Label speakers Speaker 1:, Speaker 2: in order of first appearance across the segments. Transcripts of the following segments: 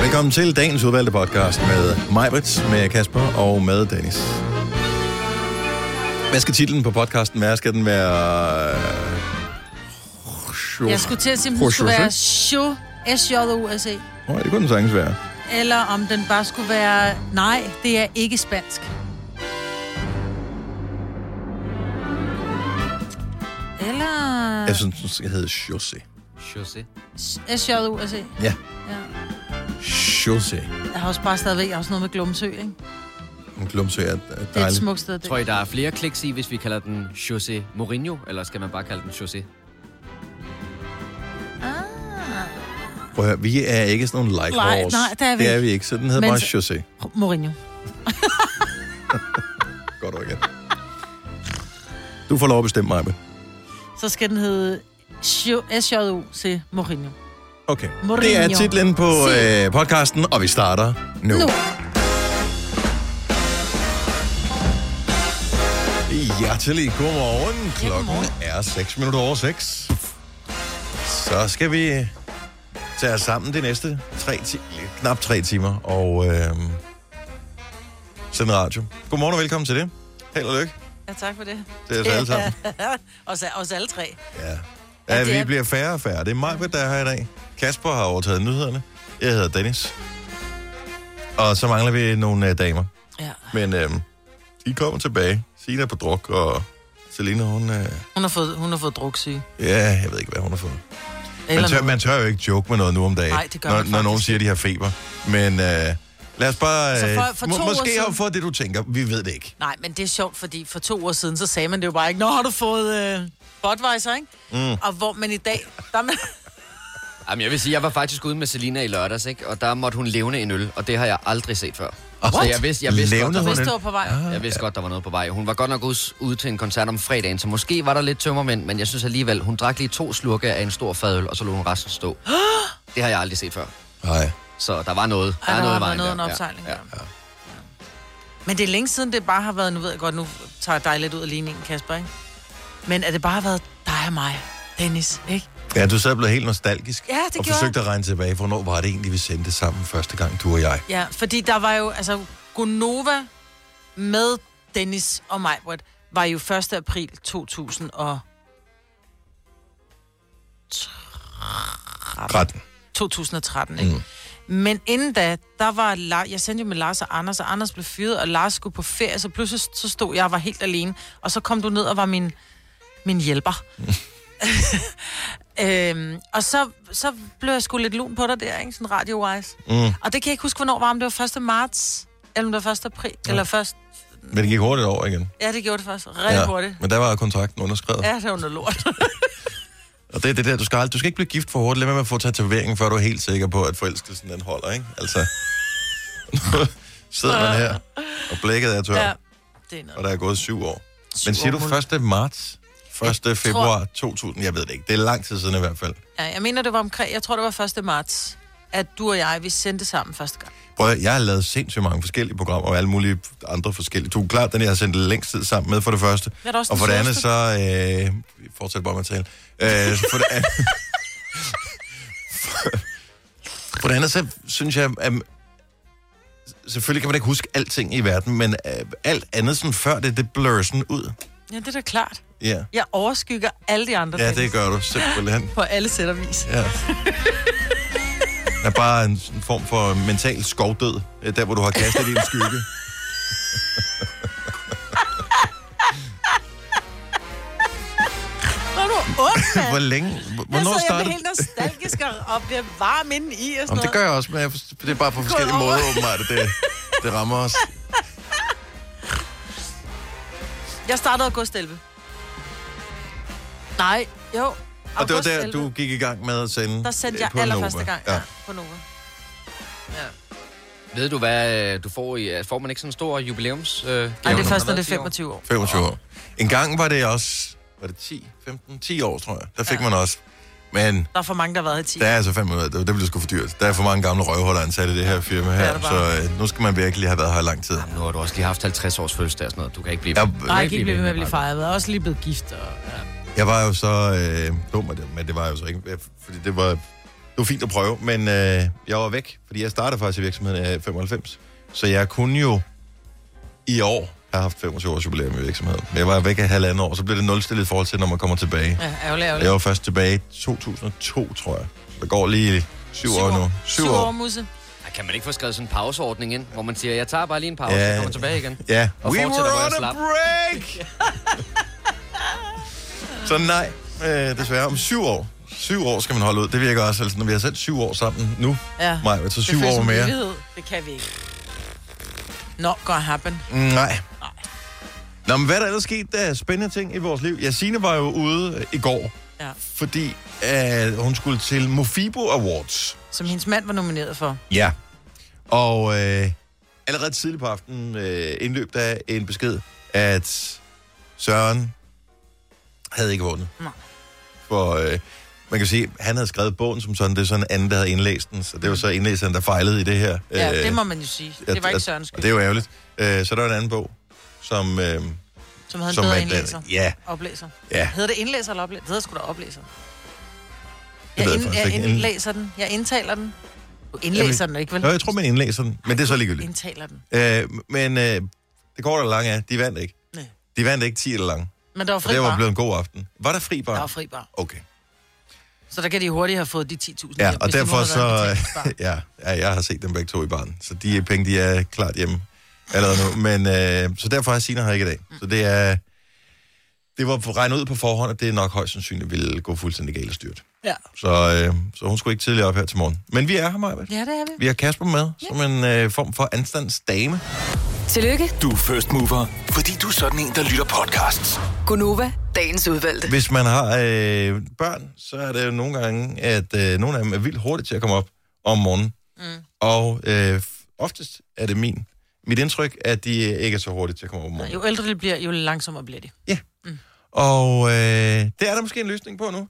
Speaker 1: Velkommen til dagens udvalgte podcast med mig, Brits, med Kasper og med Dennis. Hvad skal titlen på podcasten være? Skal den være... øh,
Speaker 2: Jeg skulle til at sige, om den skulle være show, s j o s -E,
Speaker 1: Nå, ja, det kunne den sagtens være.
Speaker 2: eller om den bare skulle være, nej, det er ikke spansk. Eller
Speaker 1: Jeg synes, den skal hedde Jose.
Speaker 3: José.
Speaker 2: s j o s -E.
Speaker 1: Ja,
Speaker 2: ja.
Speaker 1: Jose.
Speaker 2: Jeg har også bare stadigvæk jeg har også noget med Glumsø, ikke?
Speaker 1: En klumsø er er
Speaker 2: Det er et
Speaker 1: dejlig.
Speaker 2: smukt sted. Det.
Speaker 3: Tror I, der er flere kliks i, hvis vi kalder den José Mourinho? Eller skal man bare kalde den José?
Speaker 1: Prøv at høre, vi er ikke sådan nogle like
Speaker 2: Nej,
Speaker 1: horse.
Speaker 2: nej, det er vi
Speaker 1: det er
Speaker 2: ikke.
Speaker 1: vi ikke, så den hedder
Speaker 2: Men
Speaker 1: bare
Speaker 2: så-
Speaker 1: Jose.
Speaker 2: Mourinho.
Speaker 1: Godt og igen. Du får lov at bestemme mig,
Speaker 2: Så skal den hedde Sjo- S-J-O-C E Mourinho.
Speaker 1: Okay.
Speaker 2: Mourinho.
Speaker 1: Det er titlen på
Speaker 2: Se.
Speaker 1: øh, podcasten, og vi starter nu.
Speaker 2: Nu.
Speaker 1: Hjertelig godmorgen. Klokken er 6 minutter over 6. Så skal vi tage os sammen de næste tre ti- knap 3 timer og øh, sende radio. Godmorgen og velkommen til det. Held og lykke
Speaker 2: Ja, tak for det.
Speaker 1: til os alle sammen.
Speaker 2: os, os alle tre.
Speaker 1: Ja.
Speaker 2: Ja,
Speaker 1: ja
Speaker 2: det
Speaker 1: vi
Speaker 2: er-
Speaker 1: bliver færre og færre. Det er mig, der er her i dag. Kasper har overtaget nyhederne. Jeg hedder Dennis. Og så mangler vi nogle øh, damer.
Speaker 2: Ja.
Speaker 1: Men øh, de kommer tilbage. Sina er på druk, og Selina, hun... Øh,
Speaker 2: Hun har fået, hun har fået druksyge.
Speaker 1: ja, jeg ved ikke, hvad hun har fået. Man
Speaker 2: Eller
Speaker 1: tør,
Speaker 2: noget.
Speaker 1: man tør jo ikke joke med noget nu om dagen,
Speaker 2: Nej, det gør
Speaker 1: når,
Speaker 2: man
Speaker 1: når nogen
Speaker 2: faktisk
Speaker 1: siger, at de har feber. Men øh, lad os bare...
Speaker 2: Så
Speaker 1: Øh,
Speaker 2: for- for to
Speaker 1: må,
Speaker 2: uger
Speaker 1: måske har
Speaker 2: siden-
Speaker 1: du fået det, du tænker. Vi ved det ikke.
Speaker 2: Nej, men det er sjovt, fordi for to år siden, så sagde man det jo bare ikke. Nå, har du fået øh, Budweiser, ikke? Mm. Og hvor man i dag... Der er man...
Speaker 3: Jamen, jeg vil sige, jeg var faktisk ude med Selina i lørdags, ikke? Og der måtte hun levne en øl, og det har jeg aldrig set før. Så jeg vidste, jeg vidste, godt,
Speaker 1: Levnede
Speaker 3: der
Speaker 1: hun
Speaker 3: var,
Speaker 2: Hvis
Speaker 1: en-
Speaker 2: du var på vej.
Speaker 3: jeg vidste godt, Ah. der var noget på vej. Hun var godt nok ude, ude til en koncert om fredagen, så måske var der lidt tømmermænd, men jeg synes alligevel, hun drak lige to slurke af en stor fadøl, og så lå hun resten stå. Det har jeg aldrig set før.
Speaker 1: Nej.
Speaker 3: Så der var noget.
Speaker 2: Ej, der
Speaker 3: noget, i
Speaker 2: har været
Speaker 3: vejen
Speaker 2: noget en
Speaker 3: der. Ja,
Speaker 2: opsejling. Ja,
Speaker 3: ja.
Speaker 2: ja. Men det er længe siden, det bare har været... Nu ved jeg godt, nu tager jeg dig lidt ud af ligningen, Kasper, ikke? Men at det bare har været dig og mig, Dennis, ikke?
Speaker 1: Ja, du sad og blev helt nostalgisk.
Speaker 2: Ja, det
Speaker 1: og
Speaker 2: gjorde
Speaker 1: forsøgte at regne tilbage, hvornår var det egentlig, vi sendte sammen første gang, du og jeg.
Speaker 2: Ja, fordi der var jo... Altså, Gonova med Dennis og mig, var jo 1. april 2013.
Speaker 1: 13.
Speaker 2: 2013, ikke? Mm. Men inden da, der var La- jeg sendte jo med Lars og Anders, og Anders blev fyret, og Lars skulle på ferie, så pludselig så stod jeg og var helt alene, og så kom du ned og var min, min hjælper. øhm, og så, så blev jeg sgu lidt lun på dig der, ikke? Sådan radio-wise. Mm. Og det kan jeg ikke huske, hvornår var, om det var 1. marts, eller om det var 1. april, ja. eller først...
Speaker 1: Men det gik hurtigt over igen.
Speaker 2: Ja, det gjorde det først. Rigtig ja. hurtigt.
Speaker 1: Men der var kontrakten underskrevet.
Speaker 2: Ja, det var noget lort.
Speaker 1: Og det er det der, du skal, ald- du skal ikke blive gift for hurtigt. Lad være med at få tatoveringen, før du er helt sikker på, at forelskelsen den holder, ikke? Altså, nu sidder man her, og blækket er tørt,
Speaker 2: ja.
Speaker 1: ja.
Speaker 2: Det er noget.
Speaker 1: og der er gået syv år.
Speaker 2: Syv
Speaker 1: Men siger
Speaker 2: år,
Speaker 1: du 1. marts? 1. februar 2000? Jeg ved det ikke. Det er lang tid siden i hvert fald.
Speaker 2: Ja, jeg mener, det var omkring, jeg tror, det var 1. marts, at du og jeg, vi sendte sammen første gang.
Speaker 1: Prøv, at høre, jeg har lavet sindssygt mange forskellige programmer, og alle mulige andre forskellige. Du er klart den, jeg har sendt længst tid sammen med, for det første.
Speaker 2: Hvad er der også
Speaker 1: og
Speaker 2: den
Speaker 1: for det andet,
Speaker 2: sjoveste?
Speaker 1: så... Øh, vi fortsætter bare med at tale. Øh, for, det andet, for, for det andet, så synes jeg, at selvfølgelig kan man ikke huske alting i verden, men øh, alt andet sådan før det, det blør sådan ud.
Speaker 2: Ja, det er da klart.
Speaker 1: Ja.
Speaker 2: Jeg overskygger alle de andre
Speaker 1: ja,
Speaker 2: Dennis,
Speaker 1: det gør du simpelthen.
Speaker 2: på alle sæt og vis.
Speaker 1: Ja. Der er bare en, sådan form for mental skovdød, øh, der hvor du har kastet din skygge.
Speaker 2: Nå, du er ond, mand.
Speaker 1: Hvor længe? hvor- Hvornår
Speaker 2: jeg sidder
Speaker 1: startede
Speaker 2: helt nostalgisk og- og bliver varm inde i og sådan
Speaker 1: Jamen, det
Speaker 2: noget.
Speaker 1: gør jeg også, men jeg forst- det er bare på forskellige
Speaker 2: over.
Speaker 1: måder, åbenbart, at det, det rammer os.
Speaker 2: Jeg startede august 11. Nej, jo.
Speaker 1: Og det var
Speaker 2: august
Speaker 1: der,
Speaker 2: 11.
Speaker 1: du gik i gang med at sende
Speaker 2: Der sendte
Speaker 1: øh,
Speaker 2: jeg
Speaker 1: på
Speaker 2: allerførste
Speaker 1: Nova.
Speaker 2: gang ja.
Speaker 1: Ja.
Speaker 2: på Nova. Ja.
Speaker 3: Ved du hvad, øh, du får i... Får man ikke sådan en stor jubilæums... Øh,
Speaker 2: Ej,
Speaker 3: gave,
Speaker 2: det er først, når
Speaker 3: har
Speaker 2: det er
Speaker 3: været 10
Speaker 2: 25
Speaker 3: år?
Speaker 2: år.
Speaker 1: 25 år. En gang var det også, var det 10, 15, 10 år, tror jeg. Der fik ja.
Speaker 2: Ja.
Speaker 1: man også. Men
Speaker 2: Der er for mange, der har været her i 10.
Speaker 1: der er altså fandme, ud af- det, det bliver sgu for dyrt. Der er for mange gamle røvhuller ansat i det her firma
Speaker 2: Det er
Speaker 1: her,
Speaker 2: det
Speaker 1: så
Speaker 2: bare.
Speaker 1: øh, nu skal man virkelig have været her i lang tid.
Speaker 3: Nu har du også lige haft 50 års fødselsdag og sådan noget. Du kan ikke blive...
Speaker 1: Jeg,
Speaker 2: Nej, jeg kan ikke blive ved med at blive fejret. Jeg er også lige blevet gift. Og, ja.
Speaker 1: jeg var jo så øh, dum, med det, men det var jeg jo så ikke, øh, fordi det var Det var fint at prøve, men øh, jeg var væk, fordi jeg startede faktisk i virksomheden i 95. Så jeg kunne jo i år have haft 25 års jubilæum i virksomheden. Men jeg var væk af halvandet år, så blev det nulstillet i forhold til, når man kommer tilbage.
Speaker 2: Ja, ærgerligt, ærgerligt.
Speaker 1: Jeg var først tilbage i 2002, tror jeg. Så der går lige syv, år nu.
Speaker 2: Syv, Syv år, Musse.
Speaker 3: Ej, Kan man ikke få skrevet sådan en pauseordning ind, hvor man siger, jeg tager bare lige en pause,
Speaker 1: Ja.
Speaker 3: og kommer tilbage igen?
Speaker 1: Ja.
Speaker 3: Og
Speaker 1: We
Speaker 3: fortsætter,
Speaker 1: were
Speaker 3: hvor jeg
Speaker 1: on a
Speaker 3: slap.
Speaker 1: break! så nej, øh, desværre om syv år. Syv år skal man holde ud. Det virker også, altså, når vi har sat syv år sammen nu.
Speaker 2: Ja.
Speaker 1: Maja, så
Speaker 2: Det
Speaker 1: syv
Speaker 2: føles
Speaker 1: år
Speaker 2: som
Speaker 1: mere.
Speaker 2: evighed. Det kan vi ikke. Not gonna happen.
Speaker 1: Nej. Nå, men hvad er der ellers sket der er spændende ting i vores liv? Ja, Signe var jo ude øh, i går,
Speaker 2: Ja.
Speaker 1: fordi øh, hun skulle til Mofibo Awards.
Speaker 2: Som hendes mand var nomineret for.
Speaker 1: Ja. Og øh, allerede tidligt på aftenen øh, indløb der en besked, at Søren havde ikke vundet.
Speaker 2: Nej.
Speaker 1: For øh, man kan sige, han havde skrevet bogen som sådan, det er sådan en anden, der havde indlæst den, så det var så indlæseren, der fejlede i det her.
Speaker 2: Mm. Ja,
Speaker 1: Øh,
Speaker 2: det må man jo sige. Det var
Speaker 1: at-
Speaker 2: ikke
Speaker 1: at-
Speaker 2: Sørens
Speaker 1: Og
Speaker 2: skyld,
Speaker 1: det er jo ærgerligt. Øh, så der var en anden bog, som... Øh,
Speaker 2: som havde en
Speaker 1: som var
Speaker 2: bedre
Speaker 1: et eller
Speaker 2: indlæser.
Speaker 1: andet- Ja,
Speaker 2: Oplæser.
Speaker 1: ja.
Speaker 2: Hedder det indlæser eller oplæser? Det hedder sgu da oplæser.
Speaker 1: ved
Speaker 2: Jeg,
Speaker 1: jeg
Speaker 2: ind,
Speaker 1: faktisk
Speaker 2: jeg
Speaker 1: ikke. Ind-
Speaker 2: indlæser den. Jeg indtaler den. Du indlæser
Speaker 1: Jamen,
Speaker 2: den ikke, vel?
Speaker 1: Nå, jeg tror, man indlæser den, men det er så ligegyldigt.
Speaker 2: Indtaler den.
Speaker 1: Øh, men øh, det går der langt af. De vandt ikke.
Speaker 2: Nej.
Speaker 1: De vandt ikke 10 eller lang.
Speaker 2: Men der var
Speaker 1: Så
Speaker 2: fri
Speaker 1: det var
Speaker 2: bar.
Speaker 1: blevet en god aften. Var der fri
Speaker 2: Der var
Speaker 1: bar?
Speaker 2: fri bar.
Speaker 1: Okay.
Speaker 2: Så der kan de hurtigt have fået de 10.000.
Speaker 1: Ja,
Speaker 2: hjem,
Speaker 1: og
Speaker 2: hvis de nu
Speaker 1: derfor
Speaker 2: havde været
Speaker 1: så...
Speaker 2: med betalingsbar.
Speaker 1: ja, ja, jeg har set dem begge to i barn, så de penge, de er klart hjemme allerede nu. Men, øh, så derfor har Sina her ikke i dag. Så det er... Det var regnet ud på forhånd, at det nok højst sandsynligt ville gå fuldstændig galt og styrt.
Speaker 2: Ja.
Speaker 1: Så, øh, så hun skulle ikke tidligere op her til morgen. Men vi er her, Maja.
Speaker 2: ja, det er vi.
Speaker 1: Vi har Kasper med, som en øh, form for anstandsdame.
Speaker 4: Tillykke,
Speaker 5: Du er first mover, fordi du er sådan en, der lytter podcasts.
Speaker 4: Gunova, dagens udvalgte.
Speaker 1: Hvis man har øh, børn, så er det jo nogle gange, at øh, nogle af dem er vildt hurtigt til at komme op om morgenen. Mm. Og øh, f- oftest er det min. Mit indtryk, at de øh, ikke er så hurtigt til at komme op om morgenen.
Speaker 2: Jo ældre de bliver, jo langsommere bliver de.
Speaker 1: Og øh, det er der måske en løsning på nu.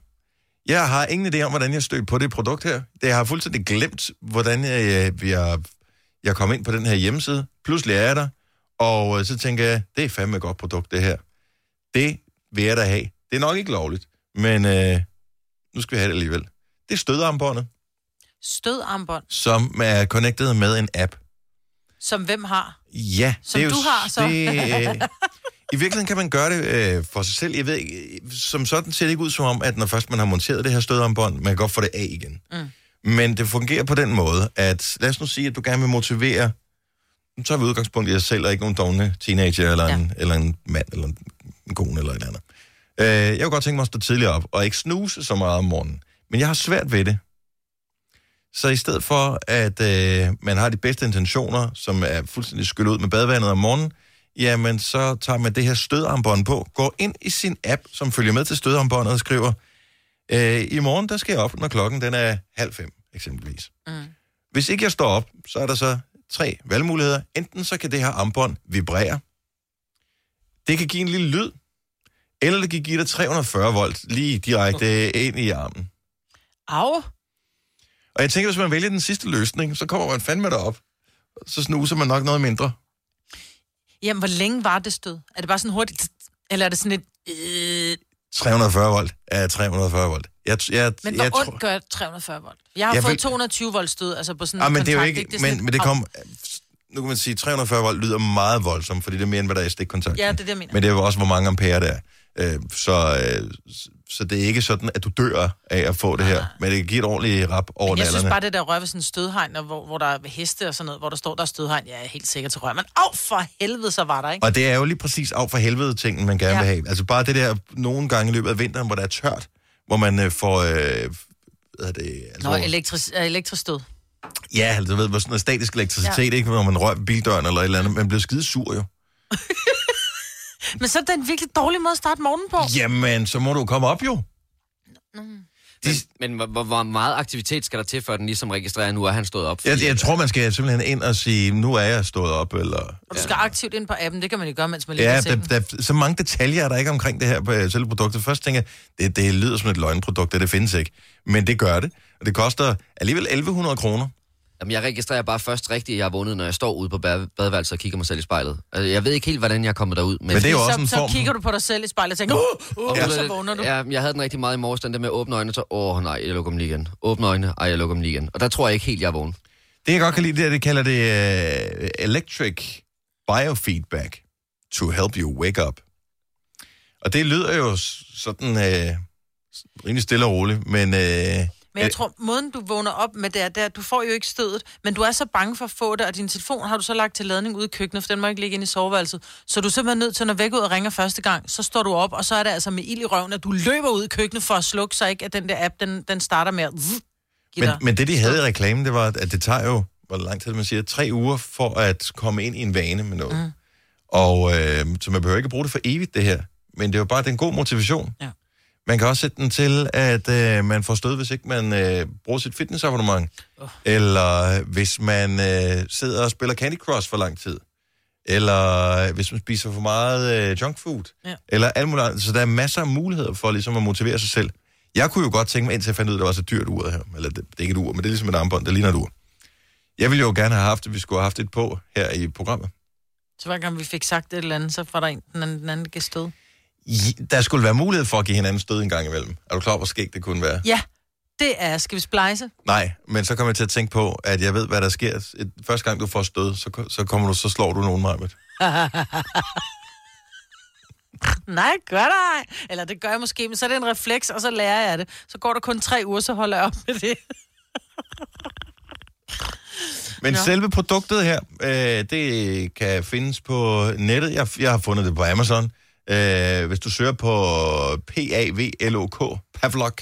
Speaker 1: Jeg har ingen idé om, hvordan jeg stødte på det produkt her. Det jeg har fuldstændig glemt, hvordan jeg, øh, jeg, jeg kom ind på den her hjemmeside. Pludselig er jeg der, og øh, så tænker jeg, det er fandme et godt produkt, det her. Det vil jeg da have. Det er nok ikke lovligt, men øh, nu skal vi have det alligevel. Det er stødarmbåndet,
Speaker 2: Stødarmbånd,
Speaker 1: som er connected med en app.
Speaker 2: som hvem har?
Speaker 1: Ja,
Speaker 2: Som
Speaker 1: det er jo
Speaker 2: du har, så.
Speaker 1: Det, øh, I virkeligheden kan man gøre det øh, for sig selv. Jeg ved ikke, øh, som sådan ser det ikke ud som om, at når først man har monteret det her stødarmbånd, man kan godt få det af igen. Mm. Men det fungerer på den måde, at lad os nu sige, at du gerne vil motivere, nu tager vi udgangspunkt i os selv, og ikke nogen dogne teenager, eller, ja. en, eller en mand, eller en, en kone, eller et eller andet. Øh, jeg kunne godt tænke mig at stå tidligere op, og ikke snuse så meget om morgenen. Men jeg har svært ved det. Så i stedet for, at øh, man har de bedste intentioner, som er fuldstændig skyllet ud med badevandet om morgenen, jamen så tager man det her stødarmbånd på, går ind i sin app, som følger med til stødarmbåndet og skriver, øh, i morgen der skal jeg op, når klokken den er halv fem, eksempelvis. Mm. Hvis ikke jeg står op, så er der så tre valgmuligheder. Enten så kan det her armbånd vibrere, det kan give en lille lyd, eller det kan give dig 340 volt lige direkte ind i armen.
Speaker 2: Au!
Speaker 1: Og jeg tænker, hvis man vælger den sidste løsning, så kommer man fandme derop. Så snuser man nok noget mindre.
Speaker 2: Jamen, hvor længe var det stød? Er det bare sådan hurtigt? tss, Eller er det sådan et... Øh,
Speaker 1: 340 volt er 340 volt. Jeg, t- jeg,
Speaker 2: men hvor
Speaker 1: jeg
Speaker 2: ondt gør 340 volt? Jeg har
Speaker 1: Jeg
Speaker 2: fået
Speaker 1: vil-
Speaker 2: 220 volt stød, altså på sådan en
Speaker 1: ah, men
Speaker 2: kontakt.
Speaker 1: det er jo ikke,
Speaker 2: er sådan
Speaker 1: men,
Speaker 2: et-
Speaker 1: men det
Speaker 2: Au.
Speaker 1: kom, nu kan man sige, 340 volt lyder meget voldsomt, fordi det er mere end, hvad der er i stikkontakten.
Speaker 2: Ja, det er det, jeg mener.
Speaker 1: Men det er jo også, hvor mange ampere der er. Øh, så, øh, s- så det er ikke sådan, at du dør af at få det her. Men det giver et ordentligt rap over
Speaker 2: Ah. Jeg
Speaker 1: nallerne.
Speaker 2: synes bare, det der rører ved sådan en stødhegn, og hvor, hvor der er heste og sådan noget, hvor der står, der er stødhegn, jeg er helt sikker til rør. Men au, for helvede, så var der, ikke?
Speaker 1: Og det er jo lige præcis af for helvede tingen, man gerne ja.
Speaker 2: Ja.
Speaker 1: vil have. Altså bare det der nogle gange i løbet af vinteren, hvor der er tørt, hvor man øh, får... Øh, hvad er det? Altså,
Speaker 2: Nå,
Speaker 1: hvor-
Speaker 2: elektris, øh, elektrostød.
Speaker 1: Ja, altså, du ved, hvor sådan noget statisk elektricitet, ja. ikke? Når man røg ved bildøren eller et eller andet. Man bliver skide sur jo.
Speaker 2: Men så er det en virkelig dårlig måde at starte morgenen på.
Speaker 1: Jamen, så må du komme op jo. De,
Speaker 3: Men hvor, hvor, hvor meget aktivitet skal der til, før den ligesom registrerer, at nu er han stået op?
Speaker 1: jeg, jeg tror, man skal simpelthen ind og sige, nu er jeg stået op, eller...
Speaker 2: Og du skal aktivt ind på appen, det kan man jo gøre, mens man ligger
Speaker 1: Ja,
Speaker 2: i
Speaker 1: der,
Speaker 2: sengen.
Speaker 1: der, er så mange detaljer er der ikke omkring det her på øh, selve produktet. Først tænker jeg, det, det lyder som et løgnprodukt, og det findes ikke. Men det gør det. Og det koster alligevel 1100 kroner.
Speaker 3: Jamen, jeg registrerer bare først rigtigt, at jeg har vågnet, når jeg står ude på bade- badeværelset og kigger mig selv i spejlet. Altså, jeg ved ikke helt, hvordan jeg er kommet derud. Men,
Speaker 1: Men det er jo også
Speaker 2: Så,
Speaker 1: en
Speaker 2: så
Speaker 1: form...
Speaker 2: kigger du på dig selv i spejlet og tænker, uh, uh,
Speaker 3: Ja.
Speaker 2: ja. så vågner du.
Speaker 3: Ja, jeg havde den rigtig meget i morges, den der med at åbne øjnene, så åh oh, nej, jeg lukker dem lige igen. Åbne øjnene, ej, jeg lukker dem lige igen. Og der tror jeg ikke helt, jeg er vågen.
Speaker 1: Det, jeg godt kan lide, det er, det kalder det uh, electric biofeedback to help you wake up. Og det lyder jo s- sådan uh, rimelig stille og roligt, men... Uh,
Speaker 2: Men jeg tror, måden du vågner op med det er, det er, at du får jo ikke stødet, men du er så bange for at få det, og din telefon har du så lagt til ladning ude i køkkenet, for den må ikke ligge inde i soveværelset. Så du er simpelthen nødt til, når væk ud og ringer første gang, så står du op, og så er det altså med ild i røven, at du løber ud i køkkenet for at slukke, så ikke at den der app, den, den starter med at zzz, give
Speaker 1: Men,
Speaker 2: dig.
Speaker 1: men det, de havde i reklamen, det var, at det tager jo, hvor lang tid man siger, tre uger for at komme ind i en vane med noget. Mm. Og øh, så man behøver ikke bruge det for evigt, det her. Men det er jo bare den god motivation.
Speaker 2: Ja.
Speaker 1: Man kan også sætte den til, at øh, man får stød, hvis ikke man øh, bruger sit fitnessabonnement. Oh. Eller hvis man øh, sidder og spiller Candy Crush for lang tid. Eller øh, hvis man spiser for meget øh, junk food.
Speaker 2: Ja.
Speaker 1: Eller alt muligt andet. Så der er masser af muligheder for ligesom at motivere sig selv. Jeg kunne jo godt tænke mig, indtil jeg fandt ud af, at det var så dyrt uret her. Eller det, det er ikke et ur, men det er ligesom et armbånd, der ligner et ur. Jeg ville jo gerne have haft, at vi skulle have haft et på her i programmet.
Speaker 2: Så hver gang vi fik sagt et eller andet, så var der en, den anden, den anden der gav stød.
Speaker 1: I- Der skulle være mulighed for at give hinanden stød en gang imellem. Er du klar, over, hvor skægt det kunne være?
Speaker 2: Ja, det er, skal vi splejse?
Speaker 1: Nej, men så kommer jeg til at tænke på, at jeg ved, hvad der sker. Et- Første gang, du får stød, så, ko- så, kommer du, så slår du nogen meget.
Speaker 2: Nej, gør det ej. Eller det gør jeg måske, men så er det en refleks, og så lærer jeg det. Så går der kun tre uger, så holder jeg op med det.
Speaker 1: Men
Speaker 2: Nå.
Speaker 1: selve produktet her, øh, det kan findes på nettet. Jeg, jeg har fundet det på Amazon. Øh, hvis du søger på P-A-V-L-O-K, Pavlok,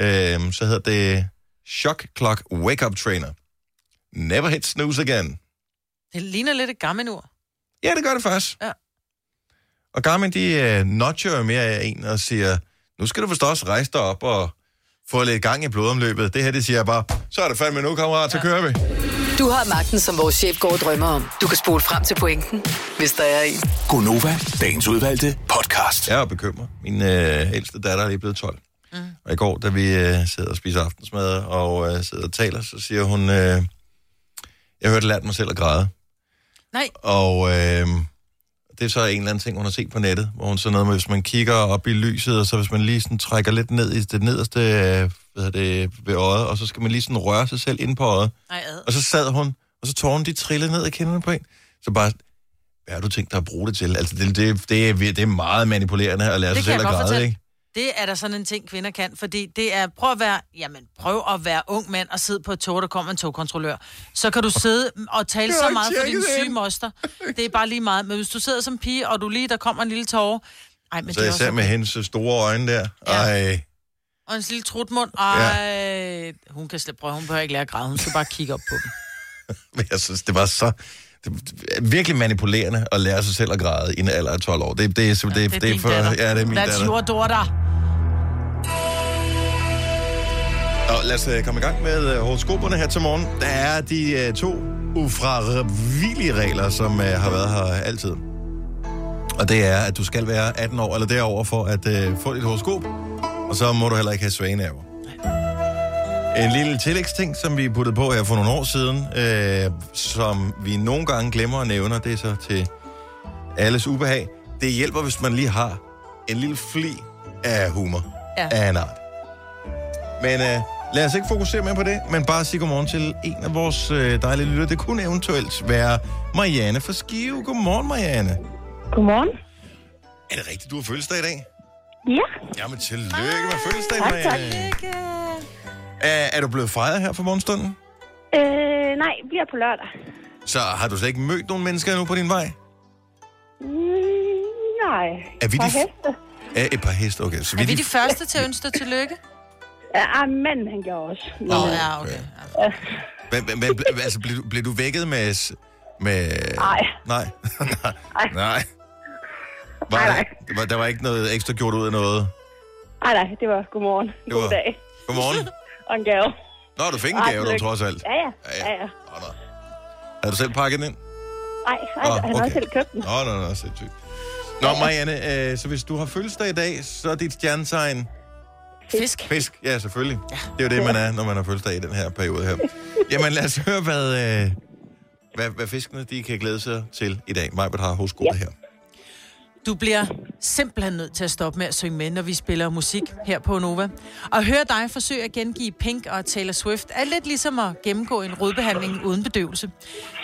Speaker 1: øh, så hedder det Shock Clock Wake Up Trainer. Never hit snooze again.
Speaker 2: Det ligner lidt et gammelt ur.
Speaker 1: Ja, det gør det faktisk.
Speaker 2: Ja.
Speaker 1: Og Garmin, de øh, notcher jo mere af en og siger, nu skal du forstås rejse dig op og få lidt gang i blodomløbet. Det her, det siger jeg bare, så er det fandme nu, kammerat, så kører vi.
Speaker 4: Du har magten, som vores chef går og drømmer om. Du kan spole frem til pointen, hvis der er en.
Speaker 5: Gonova, dagens udvalgte podcast.
Speaker 1: Jeg er bekymret. Min øh, ældste datter er lige blevet 12. Mm. Og i går, da vi øh, sidder og spiser aftensmad og øh, sidder og taler, så siger hun, øh, jeg hørte lært mig selv at græde.
Speaker 2: Nej,
Speaker 1: Og øh, det er så en eller anden ting, hun har set på nettet, hvor hun så noget med, hvis man kigger op i lyset, og så hvis man lige sådan trækker lidt ned i det nederste øh, hvad hedder det, ved øjet, og så skal man lige sådan røre sig selv ind på øjet.
Speaker 2: nej, ad.
Speaker 1: Og så sad hun, og så tårerne de trillede ned af kinderne på en. Så bare, hvad har du tænkt dig at bruge det til? Altså, det, det, det, er, vir- det er meget manipulerende at lære sig
Speaker 2: Det kan
Speaker 1: Altså, selv
Speaker 2: jeg
Speaker 1: at
Speaker 2: godt
Speaker 1: græde,
Speaker 2: fortælle.
Speaker 1: ikke?
Speaker 2: Det er der sådan en ting, kvinder kan, fordi det er, prøv at være, jamen, prøv at være ung mand og sidde på et tog, der kommer en togkontrollør. Så kan du sidde og tale
Speaker 1: Jeg har
Speaker 2: så
Speaker 1: ikke
Speaker 2: meget for din
Speaker 1: tjekket
Speaker 2: syge
Speaker 1: ind.
Speaker 2: moster. Det er bare lige meget. Men hvis du sidder som pige, og du lige, der kommer en lille tårer, ej, men
Speaker 1: Så
Speaker 2: det er
Speaker 1: jeg ser
Speaker 2: også...
Speaker 1: med hendes øh, store øjne der.
Speaker 2: Ja.
Speaker 1: Ej,
Speaker 2: Og en lille trutmund, ej, hun kan slet prøve, hun behøver ikke lære at græde, hun skal bare kigge op på dem.
Speaker 1: men jeg synes, det var så... Det er virkelig manipulerende at lære sig selv at græde i en alder af 12 år. Det, det, er, sim- det,
Speaker 2: er
Speaker 1: det, det er
Speaker 2: din
Speaker 1: for...
Speaker 2: datter.
Speaker 1: Ja, det er min
Speaker 2: That's
Speaker 1: datter.
Speaker 2: your daughter.
Speaker 1: Og lad os øh, komme i gang med øh, horoskoperne her til morgen. Der er de øh, to ufravillige regler, som øh, har været her altid. Og det er, at du skal være 18 år eller derover for at øh, få dit horoskop. Og så må du heller ikke have svaneaver. En lille tillægsting, som vi puttede på her for nogle år siden, øh, som vi nogle gange glemmer at nævne, og det er så til alles ubehag. Det hjælper, hvis man lige har en lille fli af humor
Speaker 2: Ja.
Speaker 1: af en art. Men øh, lad os ikke fokusere mere på det, men bare sige godmorgen til en af vores øh, dejlige lytter. Det kunne eventuelt være Marianne fra Skive. Godmorgen, Marianne.
Speaker 6: Godmorgen.
Speaker 1: Er det rigtigt, du har fødselsdag i dag?
Speaker 6: Ja,
Speaker 1: Jamen, tillykke med fødselsdagen,
Speaker 6: Ah, Tak, tak.
Speaker 1: Marianne. Er, er du blevet fejret her for morgenstunden?
Speaker 6: øh, nej, bliver på lørdag.
Speaker 1: Så har du slet ikke mødt nogen mennesker endnu på din vej?
Speaker 6: Mm, nej.
Speaker 1: Er vi
Speaker 6: Par
Speaker 1: de f-
Speaker 6: heste?
Speaker 1: Ja, et par heste, okay. Så
Speaker 2: Er vi de første til at ønske dig tillykke?
Speaker 6: Ja, ah, manden han gjorde også.
Speaker 2: Nå,
Speaker 6: Men, øh,
Speaker 2: ja, okay. Ja.
Speaker 1: Hvad, hvad, hvad, ble- altså, blev, du- blev du vækket med... s- med...
Speaker 6: Nej.
Speaker 1: Nej. nej. Nej. Var
Speaker 6: Nej,
Speaker 1: der,
Speaker 6: nej.
Speaker 1: der var, der var ikke noget ekstra gjort ud af noget?
Speaker 6: Ej, nej, det var godmorgen.
Speaker 1: Det
Speaker 6: God
Speaker 1: var-
Speaker 6: dag.
Speaker 1: Godmorgen.
Speaker 6: Og en gave.
Speaker 1: Nå, du fik en
Speaker 6: Ej,
Speaker 1: gave, du
Speaker 6: tillykke.
Speaker 1: trods alt.
Speaker 6: Ja, ja. ja, ja.
Speaker 1: Nå, nå. Havde du selv pakket den ind?
Speaker 6: Ej, ej,
Speaker 1: Nå,
Speaker 6: han har
Speaker 1: okay.
Speaker 6: selv købt den.
Speaker 1: Nå, nå, nå, sindssygt. Nå, Marianne, øh, så hvis du har fødselsdag i dag, så er dit stjernetegn
Speaker 2: Fisk.
Speaker 1: fisk. Ja, selvfølgelig. Det er jo det, man er, når man har fødselsdag i den her periode her. Jamen lad os høre, hvad, øh, hvad, hvad fiskene de kan glæde sig til i dag. Majbert har hos ja. her.
Speaker 2: Du bliver simpelthen nødt til at stoppe med at synge med, når vi spiller musik her på Nova. Og høre dig forsøge at gengive Pink og Taylor Swift er lidt ligesom at gennemgå en rodbehandling uden bedøvelse.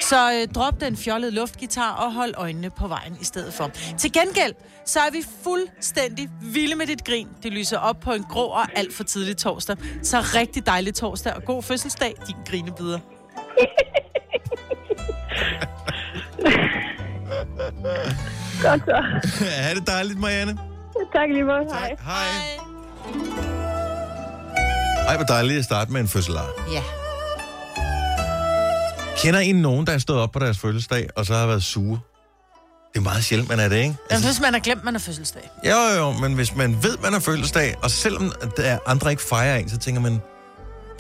Speaker 2: Så øh, drop den fjollede luftgitar og hold øjnene på vejen i stedet for. Til gengæld, så er vi fuldstændig vilde med dit grin. Det lyser op på en grå og alt for tidlig torsdag. Så rigtig dejlig torsdag og god fødselsdag, din grinebider.
Speaker 6: Godt så.
Speaker 1: er det dejligt, Marianne?
Speaker 6: Tak lige måde. Hej.
Speaker 1: Hej. Ej, hvor dejligt at starte med en fødselar.
Speaker 2: Ja.
Speaker 1: Kender I nogen, der er stået op på deres fødselsdag, og så har været sure? Det er meget sjældent, man er det, ikke? Altså,
Speaker 2: Jamen, hvis man har glemt, man har fødselsdag.
Speaker 1: Jo, jo, jo, men hvis man ved, man har fødselsdag, og selvom der er andre ikke fejrer en, så tænker man,
Speaker 2: Det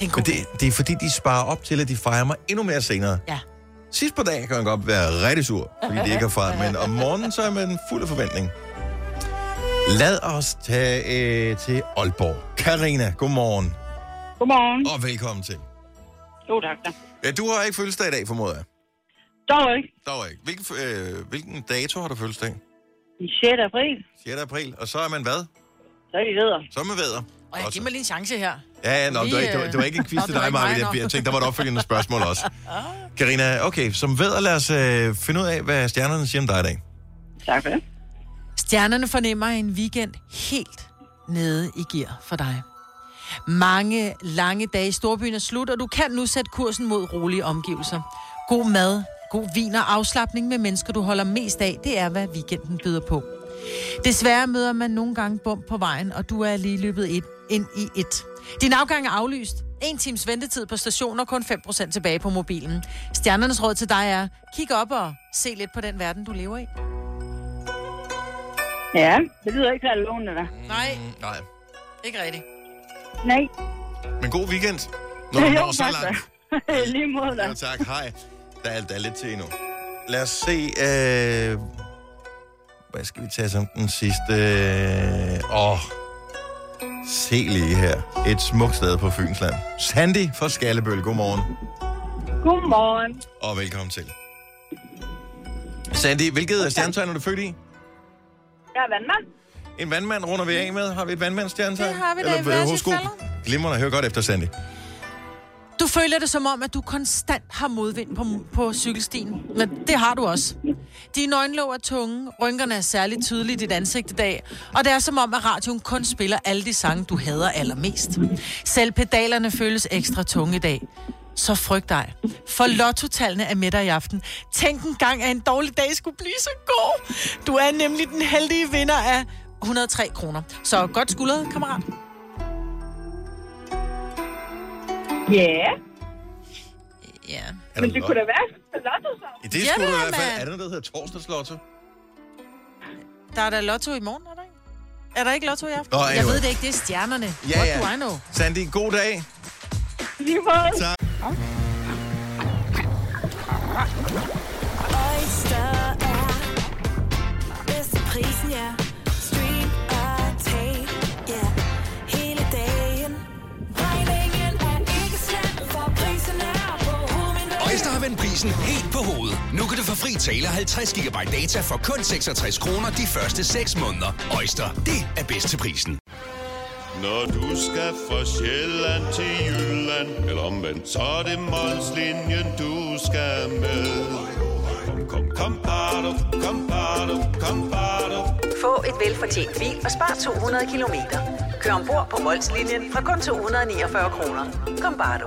Speaker 2: er en god
Speaker 1: men det, det er fordi, de sparer op til, at de fejrer mig endnu mere senere.
Speaker 2: Ja.
Speaker 1: Sidst på dagen kan man godt være rigtig sur, fordi det ikke er fejret, men om morgenen, så er man fuld af forventning. Lad os tage øh, til Aalborg. Karina, godmorgen,
Speaker 6: Godmorgen.
Speaker 1: og velkommen til.
Speaker 6: Jo, tak da.
Speaker 1: Ja, du har ikke fødselsdag i dag, formoder jeg.
Speaker 6: Dog ikke.
Speaker 1: Dog ikke. Hvilken, f- øh, hvilken dato har du fødselsdag?
Speaker 6: Den 6. april.
Speaker 1: 6. april. Og så er man hvad?
Speaker 6: Så er vi videre.
Speaker 1: Så er man væder.
Speaker 2: Og jeg
Speaker 1: Godt så.
Speaker 2: giver mig lige en chance her.
Speaker 1: Ja, ja, nå, det, var ikke, det, var, det var ikke en quiz
Speaker 2: Nå, det
Speaker 1: til
Speaker 2: var
Speaker 1: dig,
Speaker 2: ikke mig,
Speaker 1: Marvind. Jeg,
Speaker 2: nå.
Speaker 1: jeg tænkte, der var et opfølgende spørgsmål også. Karina, okay, som ved, lad os øh, finde ud af, hvad stjernerne siger om dig i dag.
Speaker 6: Tak for det.
Speaker 2: Stjernerne fornemmer en weekend helt nede i gear for dig. Mange lange dage i storbyen er slut, og du kan nu sætte kursen mod rolige omgivelser. God mad, god vin og afslappning med mennesker, du holder mest af, det er, hvad weekenden byder på. Desværre møder man nogle gange bump på vejen, og du er lige løbet et, ind i et. Din afgang er aflyst. En times ventetid på stationen og kun 5% tilbage på mobilen. Stjernernes råd til dig er, kig op og se lidt på den verden, du lever i.
Speaker 6: Ja, det lyder ikke så lovende, da.
Speaker 2: Nej,
Speaker 1: Nej.
Speaker 2: ikke rigtigt.
Speaker 6: Nej.
Speaker 1: Men god weekend. Når du når så
Speaker 6: tak da.
Speaker 1: langt.
Speaker 6: lige måde, da.
Speaker 1: Ja, tak. Hej. Der er, der er lidt til endnu. Lad os se... Øh, hvad skal vi tage som den sidste? Øh, Åh. Se lige her. Et smukt sted på Fynsland. Sandy fra Skallebøl. Godmorgen.
Speaker 6: Godmorgen.
Speaker 1: Og velkommen til. Sandy, hvilket stjernetegn er du født i?
Speaker 6: Jeg er vandmand.
Speaker 1: En vandmand runder vi af med. Har vi et vandmandstjernetegn?
Speaker 2: Det har vi da i hver sit fælder.
Speaker 1: Glimrende. Hør godt efter, Sandy.
Speaker 2: Du føler det som om, at du konstant har modvind på, på cykelstien. Men det har du også. Dine øjenlåg er tunge, rynkerne er særligt tydelige i dit ansigt i dag, og det er som om, at radioen kun spiller alle de sange, du hader allermest. Selv pedalerne føles ekstra tunge i dag. Så frygt dig, for lottotallene er med dig i aften. Tænk en gang, at en dårlig dag skulle blive så god. Du er nemlig den heldige vinder af 103 kroner. Så godt skuldret, kammerat.
Speaker 6: Ja,
Speaker 2: Ja. Yeah.
Speaker 1: Er
Speaker 6: men
Speaker 1: der
Speaker 6: det
Speaker 1: lov?
Speaker 6: kunne da være så lotto, så.
Speaker 1: Ja, Det
Speaker 2: Ja,
Speaker 1: skulle
Speaker 2: det
Speaker 1: du i
Speaker 2: er,
Speaker 1: hvert fald.
Speaker 2: mand.
Speaker 1: Er der noget, der hedder torsdagslotto?
Speaker 2: Der er da lotto i morgen, er der ikke? Er der ikke lotto i aften?
Speaker 1: Nå,
Speaker 2: jeg
Speaker 1: anyway.
Speaker 2: ved det ikke, det er stjernerne.
Speaker 1: Ja,
Speaker 2: What
Speaker 1: ja.
Speaker 2: do I know?
Speaker 1: Sandy, god dag.
Speaker 6: Lige måde.
Speaker 7: Oyster er bedst til prisen, ja. Stream og tag, ja. Hele dagen. Regningen er ikke slem, for prisen er på
Speaker 5: Øjster
Speaker 7: hovedet.
Speaker 5: har vendt prisen helt på hovedet. Nu kan du få fri tale 50 GB data for kun 66 kroner de første 6 måneder. Øjster, det er bedst til prisen.
Speaker 8: Når du skal fra Sjælland til Jylland Eller omvendt, så er det Molslinjen, du skal med Kom, kom, kom, bado, kom, bado, kom, bado.
Speaker 9: Få et velfortjent bil og spar 200 kilometer. Kør ombord på Molslinjen fra kun 249 kroner. Kom bare du.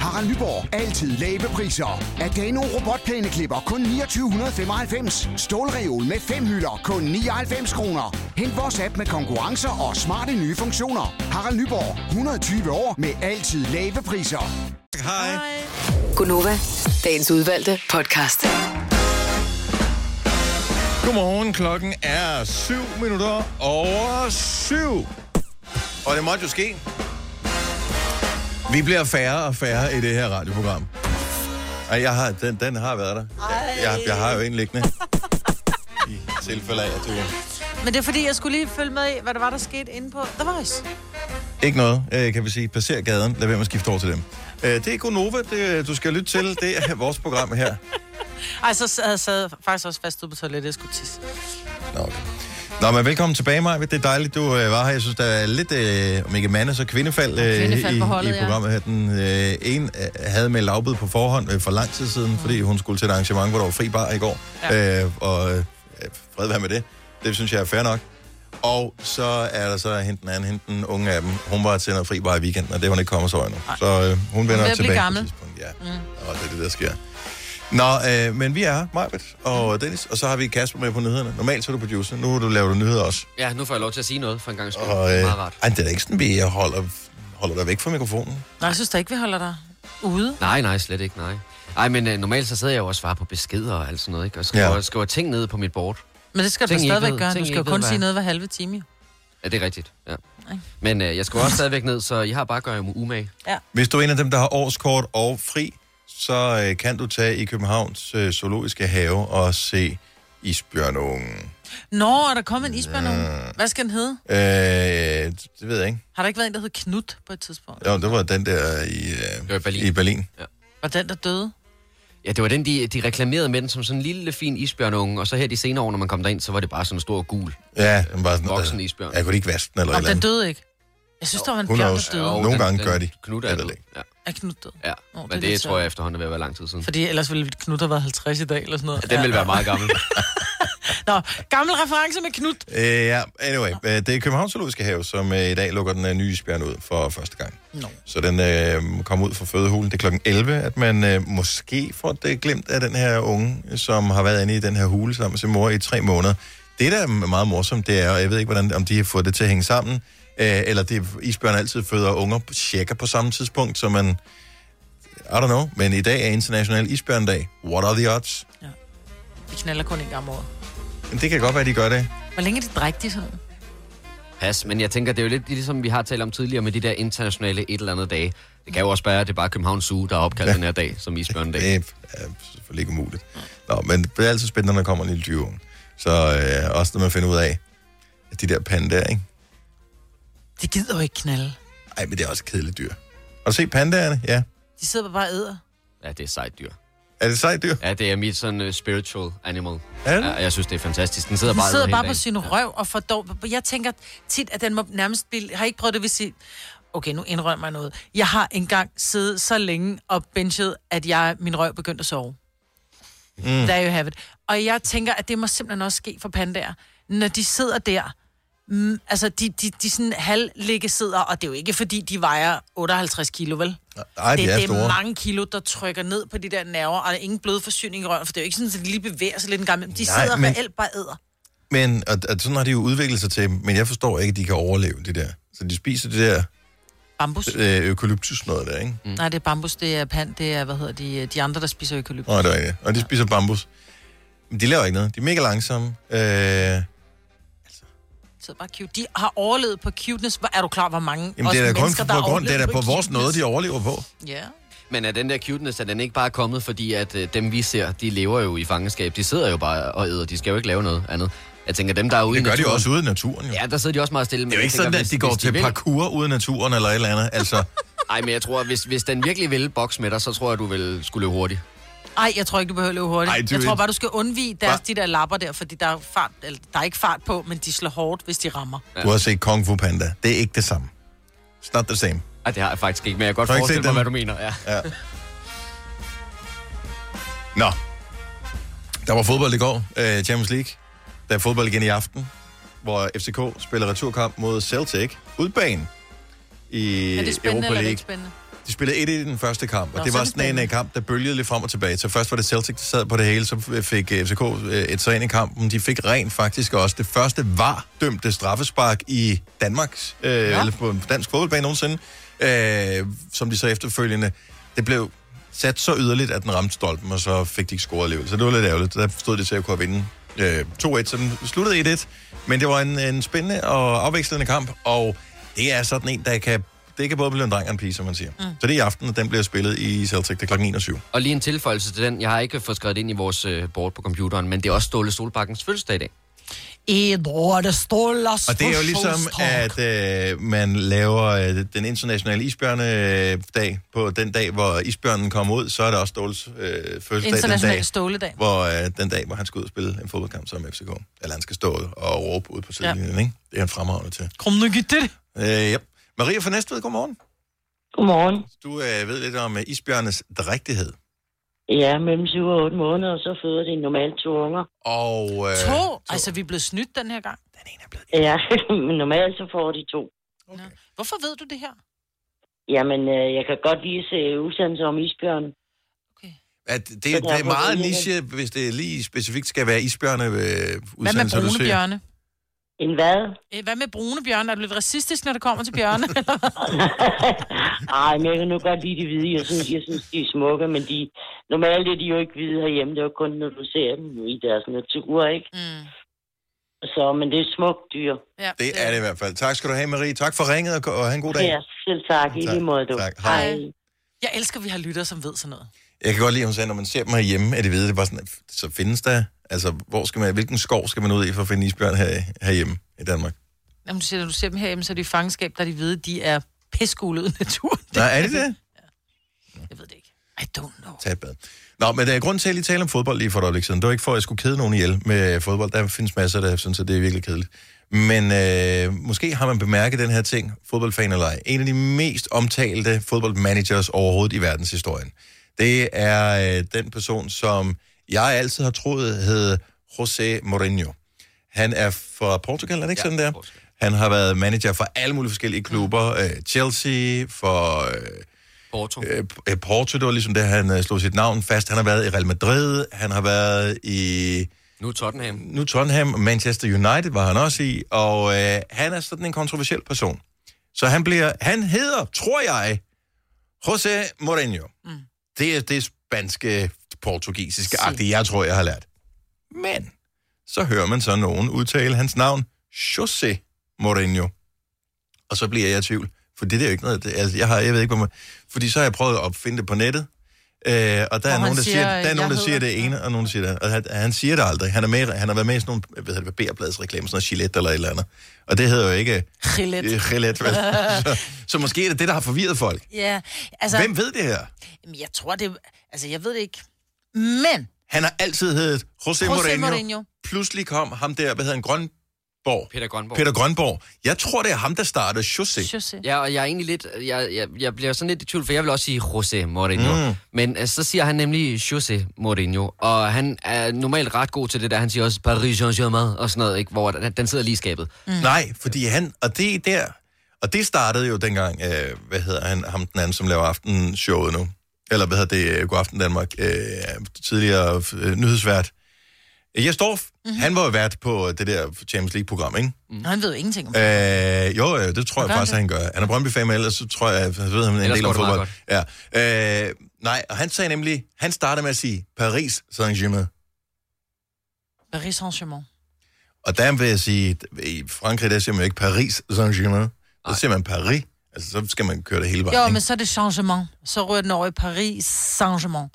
Speaker 10: Harald Nyborg. Altid lave priser. Adano robotplæneklipper kun 2995. Stålreol med fem hylder kun 99 kroner. Hent vores app med konkurrencer og smarte nye funktioner. Harald Nyborg. 120 år med altid lave priser.
Speaker 1: Hej. Hej.
Speaker 4: Gunova, dagens udvalgte podcast.
Speaker 1: Godmorgen, klokken er 7 minutter over 7. Og det måtte jo ske. Vi bliver færre og færre i det her radioprogram. Ej, jeg har, den, den har været der. Jeg, jeg, jeg har jo en liggende. I tilfælde af, at du...
Speaker 2: Men det er fordi, jeg skulle lige følge med i, hvad der var, der skete inde på The Voice.
Speaker 1: Ikke noget, øh, kan vi sige. Passer gaden. Lad være med at skifte over til dem. Øh, Det er Gonova, det, du skal lytte til. Det er vores program her.
Speaker 2: Ej, så sad jeg sad faktisk også fast ude på toilettet, jeg skulle tisse.
Speaker 1: Nå, men velkommen tilbage, Maja. Det er dejligt, du øh, var her. Jeg synes, der er lidt, øh, om ikke mande, så kvindefald, øh,
Speaker 2: Kvindefald
Speaker 1: i,
Speaker 2: på holdet,
Speaker 1: i
Speaker 2: ja.
Speaker 1: programmet her. Den øh, ene øh, havde med lavbud på forhånd øh, for lang tid siden, mm. fordi hun skulle til et arrangement, hvor der var fri bar i går. Ja. Øh, og øh, fred være med det. Det synes jeg er fair nok. Og så er der så hende den anden, hende den unge af dem. Hun var til noget fri bar i weekenden, og det var hun ikke kommet så endnu. Så øh, hun
Speaker 2: Hun
Speaker 1: vender
Speaker 2: er ved
Speaker 1: hun
Speaker 2: at blive
Speaker 1: tilbage.
Speaker 2: gammel. Mm.
Speaker 1: Ja. Og det er det, der sker. Nå, øh, men vi er her, Majbet
Speaker 2: Mm.
Speaker 1: og Dennis, og så har vi Kasper med på nyhederne. Normalt så er du producer, nu du laver du nyheder også.
Speaker 3: Ja, nu får jeg lov til at sige noget for en gang skyld.
Speaker 1: Og,
Speaker 3: det
Speaker 1: øh,
Speaker 3: er meget rart.
Speaker 1: Ej, det er da ikke sådan, vi holder, holder dig væk fra mikrofonen.
Speaker 2: Nej, jeg synes da ikke, vi holder dig ude.
Speaker 3: Nej, nej, slet ikke, nej. Ej, men øh, normalt så sidder jeg jo og svarer på beskeder og alt sådan noget, ikke? Og skriver,
Speaker 1: Ja.
Speaker 3: ja. skriver ting ned på mit board.
Speaker 2: Men det skal du
Speaker 3: Ting,
Speaker 2: da
Speaker 3: I ikke
Speaker 2: stadigvæk
Speaker 3: ved.
Speaker 2: gøre.
Speaker 3: Ting,
Speaker 2: Du
Speaker 3: I
Speaker 2: skal
Speaker 3: ikke
Speaker 2: jo
Speaker 3: ved,
Speaker 2: kun
Speaker 3: hvad
Speaker 2: sige
Speaker 3: er.
Speaker 2: noget hver halve time, jo.
Speaker 3: Ja, det er rigtigt, ja.
Speaker 2: Nej.
Speaker 3: Men øh, jeg skriver også stadigvæk ned, så jeg har bare gør mig umage.
Speaker 1: Hvis du er en af dem, der har årskort og fri, så øh, kan du tage i Københavns øh, Zoologiske Have og se isbjørnungen.
Speaker 2: Nå, er der kommet en isbjørn nu? Hvad skal den hedde?
Speaker 1: Øh, det ved jeg ikke.
Speaker 2: Har der ikke været en, der hed Knut på et tidspunkt?
Speaker 1: Jo, det var den der i, øh,
Speaker 3: var i Berlin.
Speaker 1: i Berlin.
Speaker 2: Var den, der døde?
Speaker 3: Ja, det var den, de, de reklamerede med den som sådan en lille, fin isbjørnunge, og så her de senere år, når man kom derind, så var det bare sådan en stor gul.
Speaker 1: Ja, den var sådan,
Speaker 3: Voksen isbjørn.
Speaker 1: Jeg kunne ikke vaske den eller
Speaker 2: Nå,
Speaker 1: et eller
Speaker 2: den
Speaker 1: andet.
Speaker 2: døde ikke. Jeg synes, der var en
Speaker 1: Who
Speaker 2: bjørn, der
Speaker 1: knows?
Speaker 2: døde.
Speaker 1: Nogle gange gør de.
Speaker 3: Knut er
Speaker 1: Jeg ved
Speaker 3: død.
Speaker 1: det
Speaker 3: Ja.
Speaker 2: Er Knut død?
Speaker 3: ja.
Speaker 2: Nå, det er
Speaker 3: men
Speaker 2: lidt
Speaker 3: det, tror
Speaker 2: sørgeligt.
Speaker 3: jeg efterhånden vil være lang tid siden.
Speaker 2: Fordi ellers ville Knut have været 50 i dag, eller sådan noget.
Speaker 3: Ja, den ville være meget gammel.
Speaker 2: Nå, gammel reference med Knut.
Speaker 1: Øh, ja, anyway. Øh, det er Københavns Zoologiske Have, som øh, i dag lukker den øh, nye isbjørn ud for første gang.
Speaker 2: Nå.
Speaker 1: Så den øh, kommer ud fra fødehulen. Det er klokken 11, at man øh, måske får det glemt af den her unge, som har været inde i den her hule sammen med sin mor i tre måneder. Det, der er meget morsomt, det er, og jeg ved ikke, hvordan, om de har fået det til at hænge sammen, øh, eller det isbjørn altid føder unger cirka på samme tidspunkt, så man... I don't know, men i dag er International Isbjørndag. What are the odds?
Speaker 2: De knaller kun en gang om året.
Speaker 1: Men det kan godt være, de gør det.
Speaker 2: Hvor længe er de drægtige sådan?
Speaker 3: Pas, men jeg tænker, det er jo lidt ligesom vi har talt om tidligere med de der internationale et eller andet dage. Det kan jo også være, at det er bare København Zoo, der har opkaldt ja. den her dag som isbjørndag.
Speaker 1: Det er selvfølgelig ikke umuligt. Nå, men det er altid spændende, når der kommer en lille dyreunge. Så øh, også når man finder ud af, at de der pandaer, ikke?
Speaker 2: De gider jo ikke knalde.
Speaker 1: Ej, men det er også kedelige dyr. Har du set pandaerne? Ja.
Speaker 2: De sidder bare og æder.
Speaker 3: Ja, det er sejt dyr.
Speaker 1: Er det sejt dyr?
Speaker 3: Ja, det er mit sådan uh, spiritual animal.
Speaker 1: Er
Speaker 3: Ja, og jeg synes, det er fantastisk. Den sidder
Speaker 2: Den
Speaker 3: bare,
Speaker 2: sidder
Speaker 3: hele
Speaker 2: bare
Speaker 3: dagen.
Speaker 2: på sin røv og får dog... Jeg tænker tit, at den må nærmest blive... Har I ikke prøvet det, hvis I... Okay, nu indrømmer jeg noget. Jeg har engang siddet så længe og benchet, at jeg, min røv begyndte at sove. Mm. There you have it. Og jeg tænker, at det må simpelthen også ske for pandaer. Når de sidder der, mm, altså de, de, de sådan halvligge sidder, og det er jo ikke fordi, de vejer 58 kilo, vel?
Speaker 1: Nej, de
Speaker 2: det,
Speaker 1: er
Speaker 2: det
Speaker 1: store.
Speaker 2: er mange kilo, der trykker ned på de der nerver, og der er ingen blodforsyning i røven, for det er jo ikke sådan, at de lige bevæger sig lidt en gang imellem. De
Speaker 1: Nej,
Speaker 2: sidder
Speaker 1: men-
Speaker 2: men... reelt bare æder.
Speaker 1: Men og, og sådan har de jo udviklet sig til, men jeg forstår ikke, at de kan overleve det der. Så de spiser det der...
Speaker 2: Bambus?
Speaker 1: Øh, økolyptus noget der, ikke?
Speaker 2: Mm. Nej, det er bambus, det er pand, det er, hvad hedder de, de andre, der spiser økolyptus.
Speaker 1: Nå, det er rigtigt. Og de spiser bambus. Men de laver ikke noget. De er mega langsomme. Øh, jamen,
Speaker 2: Så bare cute. De har overlevet på cuteness. Hvor er du klar, hvor mange
Speaker 1: det
Speaker 2: også
Speaker 1: er da kun
Speaker 2: mennesker, der
Speaker 1: på grund, det er da på
Speaker 2: overlevet
Speaker 1: vores noget, de overlever på.
Speaker 2: cuteness? Ja.
Speaker 3: Men er den der cuteness, er den ikke bare kommet, fordi at øh, dem vi ser, de lever jo i fangenskab. De sidder jo bare og æder, de skal jo ikke lave noget andet. Jeg tænker, dem der er ude
Speaker 1: Det
Speaker 3: i
Speaker 1: gør de jo
Speaker 3: naturen-
Speaker 1: også ude i naturen, jo.
Speaker 3: Ja, der sidder de også meget stille. Men
Speaker 1: Det er jo ikke sådan, at de går til parkour ude i naturen eller et eller andet. Altså,
Speaker 3: Nej, men jeg tror, at hvis, hvis den virkelig vil bokse med dig, så tror jeg, du vil skulle løbe hurtigt.
Speaker 2: Ej, jeg tror ikke, du behøver at løbe hurtigt.
Speaker 3: Ej,
Speaker 2: Ej,
Speaker 3: du
Speaker 2: jeg tror
Speaker 3: ved-
Speaker 2: bare, du skal undvige deres, de der lapper der, fordi der er, fart, eller, der er ikke fart på, men de slår hårdt, hvis de rammer.
Speaker 1: du har set Kung Fu Panda. Det er ikke det samme. It's not the same.
Speaker 3: Ej, det har jeg faktisk ikke, men jeg kan godt
Speaker 1: Har du ikke
Speaker 3: forestille
Speaker 1: set
Speaker 3: mig, hvad du
Speaker 1: den?
Speaker 3: mener. Ja.
Speaker 1: Ja. Nå. Der var fodbold i går. Øh, Champions League. Der er fodbold igen i aften, hvor FCK spiller returkamp mod Celtic. Udbanen i
Speaker 2: Er det spændende,
Speaker 1: Europa
Speaker 2: eller er det
Speaker 1: League.
Speaker 2: ikke spændende?
Speaker 1: De spillede 1-1 i den første kamp, og
Speaker 2: Nå,
Speaker 1: det
Speaker 2: så er
Speaker 1: var
Speaker 2: det
Speaker 1: sådan en uh,
Speaker 2: spændende.
Speaker 1: kamp, der bølgede lidt frem og tilbage. Så først var det Celtic, der sad på det hele, så fik øh, FCK øh, et så ind i kampen. De fik rent faktisk også det første var dømte straffespark i Danmarks, øh, eller på en dansk fodboldbane nogensinde, øh, som de så efterfølgende det blev sat så yderligt, at den ramte stolpen, og så fik de ikke scoret alligevel. Så det var lidt ærgerligt. Der stod det til at kunne have vinde øh, 2-1, så den sluttede 1-1. Men det var en, en spændende og afvekslende kamp, og det er sådan en, der kan... Det kan både blive en dreng og en pige, som man siger. Mm. Så det er i aften, og den bliver spillet i Celtic. Det er klokken 21.
Speaker 3: Og lige en tilføjelse til den. Jeg har ikke fået skrevet det ind i vores øh, board på computeren, men det er også Ståle Solbakkens fødselsdag i dag.
Speaker 2: Edward Stålers
Speaker 1: Og det er jo ligesom, at øh, man laver øh, den internationale isbjørnedag på den dag, hvor isbjørnen kommer ud, så er det også Ståles øh, fødselsdag den
Speaker 2: International
Speaker 1: dag,
Speaker 2: ståledag.
Speaker 1: hvor, øh, den dag, hvor han skal ud og spille en fodboldkamp sammen med FCK. Eller han skal stå og råbe ud på sidelinjen, ja. ikke? Det er han fremragende til.
Speaker 2: Kom nu, giv det.
Speaker 1: Øh, ja. Maria fra Næstved, godmorgen.
Speaker 11: Godmorgen.
Speaker 1: Du øh, ved lidt om øh, isbjørnes drægtighed.
Speaker 11: Ja, mellem 7 og 8 måneder, og så føder de normalt to unger.
Speaker 1: Og... Øh,
Speaker 2: To? Altså, vi er blevet snydt den her gang.
Speaker 11: Ja, men normalt så får de to.
Speaker 2: Hvorfor ved du det her?
Speaker 11: Jamen, øh, jeg kan godt lide at se udsendelser om isbjørn.
Speaker 1: At det, det er meget niche, hvis det lige specifikt skal være isbjørne øh,
Speaker 2: Hvad med
Speaker 1: udsendelser, du
Speaker 2: brune
Speaker 1: ser.
Speaker 2: bjørne?
Speaker 11: En hvad?
Speaker 2: Eh, Hvad med brune bjørne? Er du lidt racistisk, når det kommer til bjørne? eller hvad?
Speaker 11: Ej, men jeg kan nu godt lide de hvide. Jeg synes, jeg synes de er smukke, men de, normalt er de jo ikke hvide herhjemme. Det er jo kun, når du ser dem i deres natur, ikke?
Speaker 2: Mm.
Speaker 11: Så, men det er et smukt dyr.
Speaker 2: Ja,
Speaker 1: det er det i hvert fald. Tak skal du have, Marie. Tak for ringet, og, og have en god dag.
Speaker 11: Ja, selv tak. I lige måde, du.
Speaker 1: Tak. Hej.
Speaker 2: Jeg elsker, at vi har lyttere, som ved sådan noget.
Speaker 1: Jeg kan godt lide, at hun sagde, når man ser dem herhjemme, at det ved, det er bare sådan, så findes der, altså, hvor skal man, hvilken skov skal man ud i for at finde isbjørn her, herhjemme i Danmark?
Speaker 2: Jamen, du siger, når du ser dem herhjemme, så er de i fangenskab, der de ved, de er pissegule ud i naturen.
Speaker 1: Nej, er det det?
Speaker 2: I don't know.
Speaker 1: Tag et bad. Nå, men der er grund til, at jeg lige taler om fodbold lige for et øjeblik siden. Det var ikke for, at jeg skulle kede nogen ihjel med øh, fodbold. Der findes masser, der synes, at det er virkelig kedeligt. Men øh, måske har man bemærket den her ting, fodboldfan eller ej. En af de mest omtalte fodboldmanagers overhovedet i verdenshistorien. Det er øh, den person, som jeg altid har troet hed José Mourinho. Han er fra Portugal, er det ikke ja, sådan der? Han har været manager for alle mulige forskellige klubber. Øh, Chelsea, for... Øh,
Speaker 3: Porto.
Speaker 1: Øh, øh, Porto, det var ligesom det, han øh, slog sit navn fast. Han har været i Real Madrid, han har været i...
Speaker 3: Nu Tottenham.
Speaker 1: Nu Tottenham, Manchester United var han også i, og øh, han er sådan en kontroversiel person. Så han bliver... Han hedder, tror jeg, José Mourinho. Mm. Det er det spanske, portugisiske agtige, jeg tror, jeg har lært. Men så hører man så nogen udtale hans navn, José Mourinho. Og så bliver jeg i tvivl, for det der er jo ikke noget... Det, altså, jeg, har, jeg ved ikke, hvor man... Fordi så har jeg prøvet at opfinde det på nettet, øh, og der er
Speaker 12: han
Speaker 1: nogen, der siger,
Speaker 12: siger,
Speaker 1: der er
Speaker 12: jeg
Speaker 1: nogen, der
Speaker 12: hedder-
Speaker 1: siger det ene, og nogen, der siger det andet. Og han, han siger det aldrig. Han, er med, i- han har været med i sådan nogle jeg ved, barberbladsreklamer, sådan noget Gillette eller et eller andet. Og det hedder jo ikke...
Speaker 2: Gillette.
Speaker 1: Øh, Gillette, vel? så, så måske er det det, der har forvirret folk.
Speaker 2: Ja,
Speaker 1: Altså, Hvem ved det her?
Speaker 2: Jamen, jeg tror det... Altså, jeg ved det ikke. Men...
Speaker 1: Han har altid heddet José,
Speaker 2: José
Speaker 1: Mourinho.
Speaker 2: Mourinho.
Speaker 1: Pludselig kom ham der, hvad hedder han, Grønborg?
Speaker 3: Peter Grønborg.
Speaker 1: Peter Grønborg. Jeg tror, det er ham, der startede José.
Speaker 3: Ja, og jeg er egentlig lidt, øh, jeg, jeg, jeg bliver sådan lidt i tvivl, for jeg vil også sige José Mourinho. Mm. Men øh, så siger han nemlig José Mourinho, og han er normalt ret god til det der, han siger også Paris Saint-Germain og sådan noget, ikke? hvor den, den sidder lige i skabet.
Speaker 1: Mm. Nej, fordi han, og det er der, og det startede jo dengang, øh, hvad hedder han, ham den anden, som laver aftenshowet nu, eller hvad hedder det, øh, God Aften Danmark, øh, tidligere øh, nyhedsvært. Jesdorf, mm-hmm. han var jo vært på det der Champions League-program, ikke?
Speaker 2: Mm. Han ved jo ingenting om det.
Speaker 1: Øh, jo, øh, det tror
Speaker 2: gør han
Speaker 1: jeg faktisk,
Speaker 2: det?
Speaker 1: han gør. Han er Brøndby-fan, men ellers så tror jeg, så ved han en
Speaker 3: Ellers
Speaker 1: del om
Speaker 3: går det
Speaker 1: fodbold.
Speaker 3: meget
Speaker 1: Ja. Øh, nej, og han sagde nemlig, han startede med at sige Paris Saint-Germain.
Speaker 2: Paris Saint-Germain.
Speaker 1: Og der vil jeg sige, i Frankrig, der siger man jo ikke Paris Saint-Germain. Så siger man Paris. Altså, så skal man køre det hele vejen.
Speaker 2: Jo,
Speaker 1: ikke?
Speaker 2: men så er det Saint-Germain. Så rører den over i Paris Saint-Germain.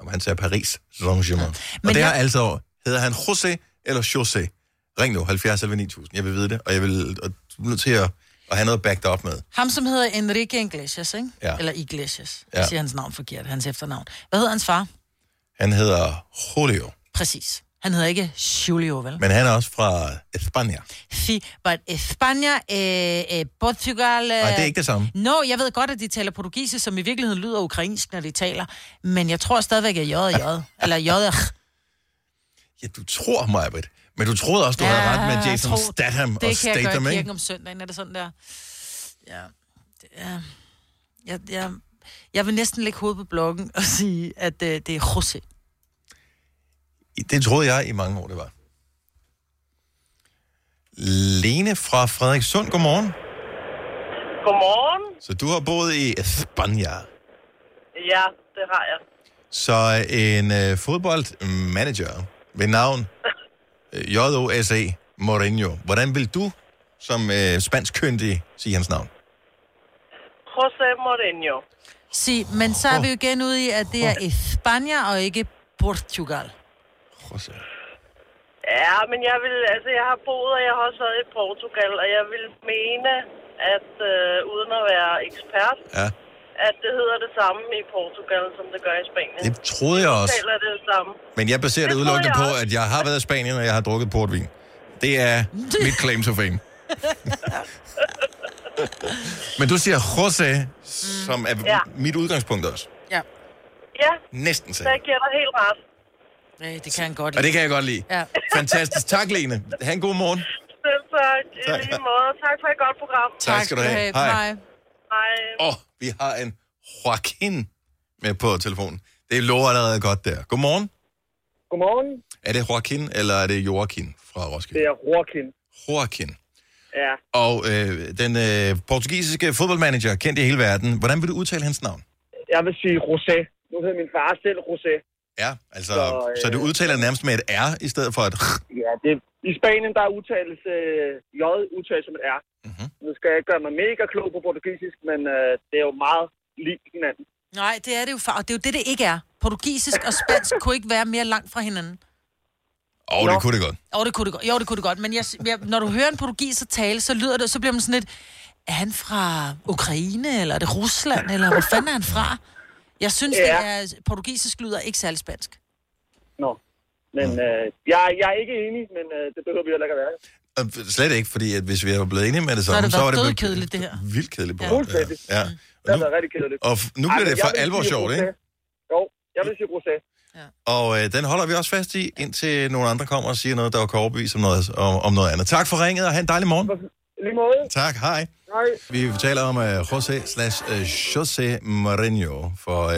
Speaker 1: Og han sagde Paris Saint-Germain. Ja. Og
Speaker 2: Men
Speaker 1: det har
Speaker 2: jeg-
Speaker 1: altså, hedder han José eller José? Ring nu, 70 11 9000. Jeg vil vide det, og jeg vil og du er nødt til at, at have noget at back dig op med.
Speaker 2: Ham, som hedder Enrique Iglesias, ikke?
Speaker 1: Ja.
Speaker 2: Eller Iglesias.
Speaker 1: Ja.
Speaker 2: Ja. siger hans navn forkert, hans efternavn. Hvad hedder hans far?
Speaker 1: Han hedder Julio,
Speaker 2: Præcis. Han hedder ikke Julio, vel?
Speaker 1: men han er også fra Spanien.
Speaker 2: Sí, but España, eh, eh, Portugal... Eh...
Speaker 1: Nej, det er ikke det samme.
Speaker 2: No, jeg ved godt, at de taler portugisisk, som i virkeligheden lyder ukrainsk, når de taler. Men jeg tror stadigvæk, at jeg er jød. Eller jød er...
Speaker 1: Ja, du tror mig, Britt. Men du troede også, du ja, havde ret med Jason tro, Statham
Speaker 2: Ah, det Det
Speaker 1: og
Speaker 2: kan jeg
Speaker 1: Statham,
Speaker 2: gøre i kirken
Speaker 1: ikke?
Speaker 2: om søndagen, er det sådan der? Ja, det er... Jeg, jeg, jeg vil næsten lægge hovedet på blokken og sige, at øh, det er José.
Speaker 1: Det troede jeg i mange år, det var. Lene fra Frederikssund, godmorgen.
Speaker 6: Godmorgen.
Speaker 1: Så du har boet i Spanien.
Speaker 6: Ja, det har jeg.
Speaker 1: Så en øh, fodboldmanager ved navn øh, J.O.S.E. Mourinho. Hvordan vil du som øh, spansk køndig sige hans navn?
Speaker 6: José Mourinho.
Speaker 2: Sig, men så er vi jo igen ude i, at det er España og ikke Portugal.
Speaker 6: Ja, men jeg vil, altså jeg har boet, og jeg har også været i Portugal, og jeg vil mene, at øh, uden at være ekspert,
Speaker 1: Ja.
Speaker 6: at det hedder det samme i Portugal, som det gør i Spanien.
Speaker 1: Det troede jeg også.
Speaker 6: Det taler det samme.
Speaker 1: Men jeg baserer det,
Speaker 6: Det
Speaker 1: det
Speaker 6: tror
Speaker 1: udelukkende
Speaker 6: jeg
Speaker 1: på,
Speaker 6: også.
Speaker 1: at jeg har været i Spanien, og jeg har drukket portvin. Det er mit claim to fame. Men du siger Jose, som er
Speaker 6: Mm. Ja.
Speaker 1: mit udgangspunkt også.
Speaker 2: Ja.
Speaker 6: Ja,
Speaker 1: Næsten
Speaker 6: så
Speaker 1: sagde
Speaker 6: jeg giver dig helt ret.
Speaker 2: Nej, Øh, det kan han godt
Speaker 1: Og det kan jeg godt lide.
Speaker 2: Ja.
Speaker 1: Fantastisk. Tak, Lene. Ha' en god morgen.
Speaker 6: Selv tak. I
Speaker 1: Tak.
Speaker 6: lige måde. Tak for et godt program.
Speaker 1: Tak Tak skal du skal du have. have. Hej. Hej.
Speaker 6: Hej.
Speaker 1: Og vi har en Joaquin med på telefonen. Det lover allerede godt der. Godmorgen.
Speaker 12: Godmorgen.
Speaker 1: Er det Joaquin, eller er det Joaquin fra Roskilde?
Speaker 12: Det er Joaquin.
Speaker 1: Joaquin.
Speaker 12: Ja.
Speaker 1: Og øh, den øh, portugisiske fodboldmanager, kendt i hele verden. Hvordan vil du udtale hans navn?
Speaker 12: Jeg vil sige Rosé. Nu hedder min far selv Rosé.
Speaker 1: Ja, Altså, så, øh, så du udtaler det nærmest med et R i stedet for et R.
Speaker 12: Ja, det, i Spanien, der er udtales øh, J udtales som et R. Mm-hmm. Nu skal jeg ikke gøre mig mega klog på portugisisk, men øh, det er jo meget lige hinanden.
Speaker 2: Nej, det er det jo, far. Og det er jo det, det ikke er. Portugisisk og spansk kunne ikke være mere langt fra hinanden.
Speaker 1: Åh, oh, det kunne det godt.
Speaker 2: Jo, det kunne det godt. Jo, det kunne det godt. Men jeg, jeg, når du hører en portugiser tale, så lyder det, så bliver man sådan lidt, er han fra Ukraine, eller er det Rusland, eller hvor fanden er han fra? Jeg synes, ja. det
Speaker 12: Ja.
Speaker 2: er, portugisisk lyder ikke særlig spansk.
Speaker 12: Nå. Men øh, jeg, jeg er ikke enig, men øh, det behøver vi heller ikke at være.
Speaker 1: Og Øh, Slet ikke, fordi at hvis vi var blevet enige med det
Speaker 12: Så har
Speaker 1: samme,
Speaker 12: det
Speaker 1: så var
Speaker 12: været
Speaker 1: det blevet
Speaker 12: dødkedeligt, det her. Mm.
Speaker 1: vildt kedeligt.
Speaker 12: Ja.
Speaker 1: program.
Speaker 12: Fuldstændig.
Speaker 1: Ja.
Speaker 12: Det har været rigtig kedeligt.
Speaker 1: Og f- nu bliver
Speaker 12: men
Speaker 1: det
Speaker 12: jeg
Speaker 1: for
Speaker 12: vil sige
Speaker 1: alvor sjovt,
Speaker 12: Rosé.
Speaker 1: ikke?
Speaker 12: Jo, jeg vil sige Rosé.
Speaker 1: Og øh, den holder vi også fast i, indtil nogle andre kommer og siger noget, der kan overbevise om noget, om, om noget andet. Tak for ringet, og have en dejlig morgen.
Speaker 12: Lige måde.
Speaker 1: Tak, hej.
Speaker 12: Hej.
Speaker 1: Vi taler om uh, José slash øh, José Mourinho, for uh,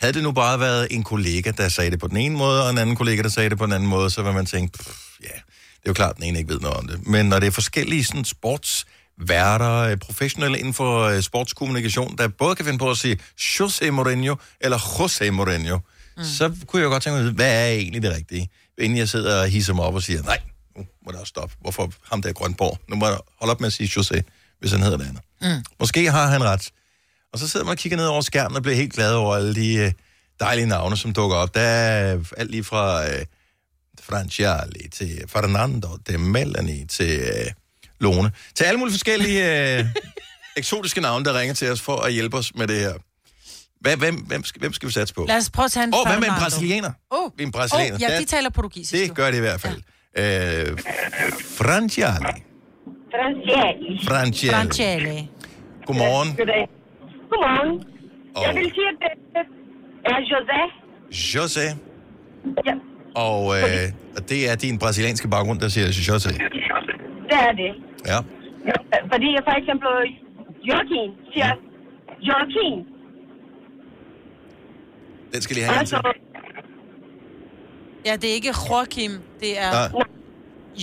Speaker 1: havde det nu bare været en kollega, der sagde det på den ene måde, og en anden kollega, der sagde det på den anden måde, så vil man tænke, pff, ja, det er jo klart, den ene ikke ved noget om det. Men når det er forskellige sådan, sportsværter, øh, professionelle inden for øh, sportskommunikation, der både kan finde på at sige José Mourinho eller José Mourinho, mm. så kunne jeg godt tænke mig, at vide, hvad er egentlig det rigtige? Inden jeg sidder og hisser mig op og siger, nej, nu må der også stoppe. Hvorfor ham der Grønborg? Nu må jeg holde op med at sige José, hvis han hedder det andet.
Speaker 13: Mm.
Speaker 1: Måske har han ret. Og så sidder man og kigger ned over skærmen og bliver helt glad over alle de øh, dejlige navne, som dukker op. Der er øh, alt lige fra øh, Franciali til Fernando, til Melanie, til øh, Lone. Til alle mulige forskellige øh, eksotiske navne, der ringer til os for at hjælpe os med det her. Hvem, hvem, hvem, skal, hvem skal vi satse på?
Speaker 2: Lad os prøve at tage en
Speaker 1: Åh, hvad med en
Speaker 2: Fernando?
Speaker 1: brasilianer?
Speaker 2: Åh,
Speaker 1: En brasilianer.
Speaker 2: Åh, ja,
Speaker 1: Der-
Speaker 2: de taler portugisisk.
Speaker 1: Det gør det i hvert fald. Ja. Øh, Franciali.
Speaker 14: Franciali.
Speaker 1: Franciali.
Speaker 2: Franciali.
Speaker 1: Godmorgen.
Speaker 14: Goddag. Godmorgen.
Speaker 1: Og-
Speaker 14: Jeg vil sige, at det er José.
Speaker 1: José. Ja. Og, øh, og det er din brasilianske baggrund, der siger José.
Speaker 14: Det er det.
Speaker 1: Ja.
Speaker 14: Fordi jeg for eksempel Joaquin siger Joaquin.
Speaker 1: Den skal lige have en til.
Speaker 2: Ja, det er ikke Joachim, det er...
Speaker 1: Nej.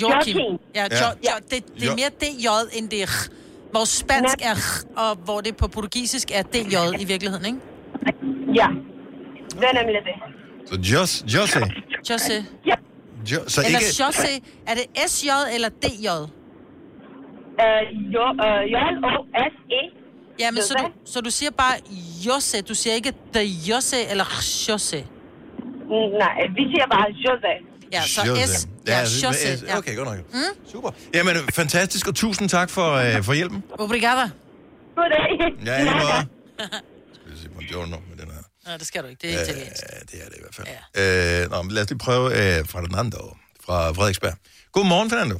Speaker 2: Joachim.
Speaker 14: Joachim.
Speaker 2: Ja, jo,
Speaker 1: Ja.
Speaker 2: jo, det, det er
Speaker 1: Jo.
Speaker 2: mere DJ end det R. Hvor spansk er R, og hvor det på portugisisk er DJ i virkeligheden, ikke?
Speaker 14: Ja. Det er nemlig det.
Speaker 1: Så Jos, José.
Speaker 2: Jose.
Speaker 1: Jo, så
Speaker 2: Så eller
Speaker 1: ikke...
Speaker 2: ikke... Jose. Er det SJ eller DJ?
Speaker 14: Øh, jo,
Speaker 6: E.
Speaker 14: øh, J-O-S-E.
Speaker 2: Ja, men så
Speaker 14: Jose.
Speaker 2: du, så du siger bare Jose. Du siger ikke The Jose eller Jose.
Speaker 14: Nej, vi siger bare José.
Speaker 2: Ja, så S.
Speaker 1: Ja,
Speaker 2: Ja,
Speaker 1: så-
Speaker 2: Jose.
Speaker 1: S.
Speaker 2: Ja.
Speaker 1: Okay, godt nok. Mm? Super. Jamen, fantastisk, og tusind tak for, øh, for hjælpen.
Speaker 2: Obrigada.
Speaker 14: Goddag.
Speaker 1: Ja, i lige måde. Buongiorno med den her.
Speaker 2: Nej, det skal du ikke. Det er
Speaker 1: Øh,
Speaker 2: italiensk.
Speaker 1: det er det i hvert fald. Ja. Øh, nå, men lad os lige prøve øh, Fernando fra Frederiksberg. Godmorgen, Fernando.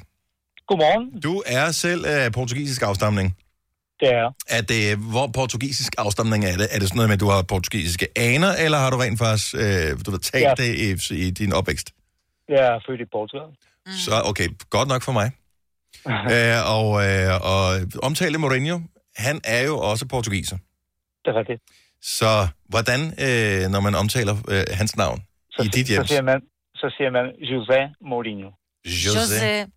Speaker 12: Godmorgen.
Speaker 1: Du er selv øh, portugisisk afstamning.
Speaker 12: Det er
Speaker 1: Er det, hvor portugisisk afstamning er det? Er det sådan noget med, at du har portugisiske aner, eller har du rent faktisk øh, du har talt ja.
Speaker 12: Ja.
Speaker 1: det i, i din opvækst?
Speaker 12: Jeg er født i Portugal.
Speaker 1: Mm. Så okay, godt nok for mig. Æ, og, øh, og omtale Mourinho, han er jo også portugiser.
Speaker 12: Det er rigtigt.
Speaker 1: Så hvordan, øh, når man omtaler øh, hans navn så, i dit
Speaker 12: Så
Speaker 1: hjem?
Speaker 12: siger man, så siger man José Mourinho.
Speaker 1: Øh, José.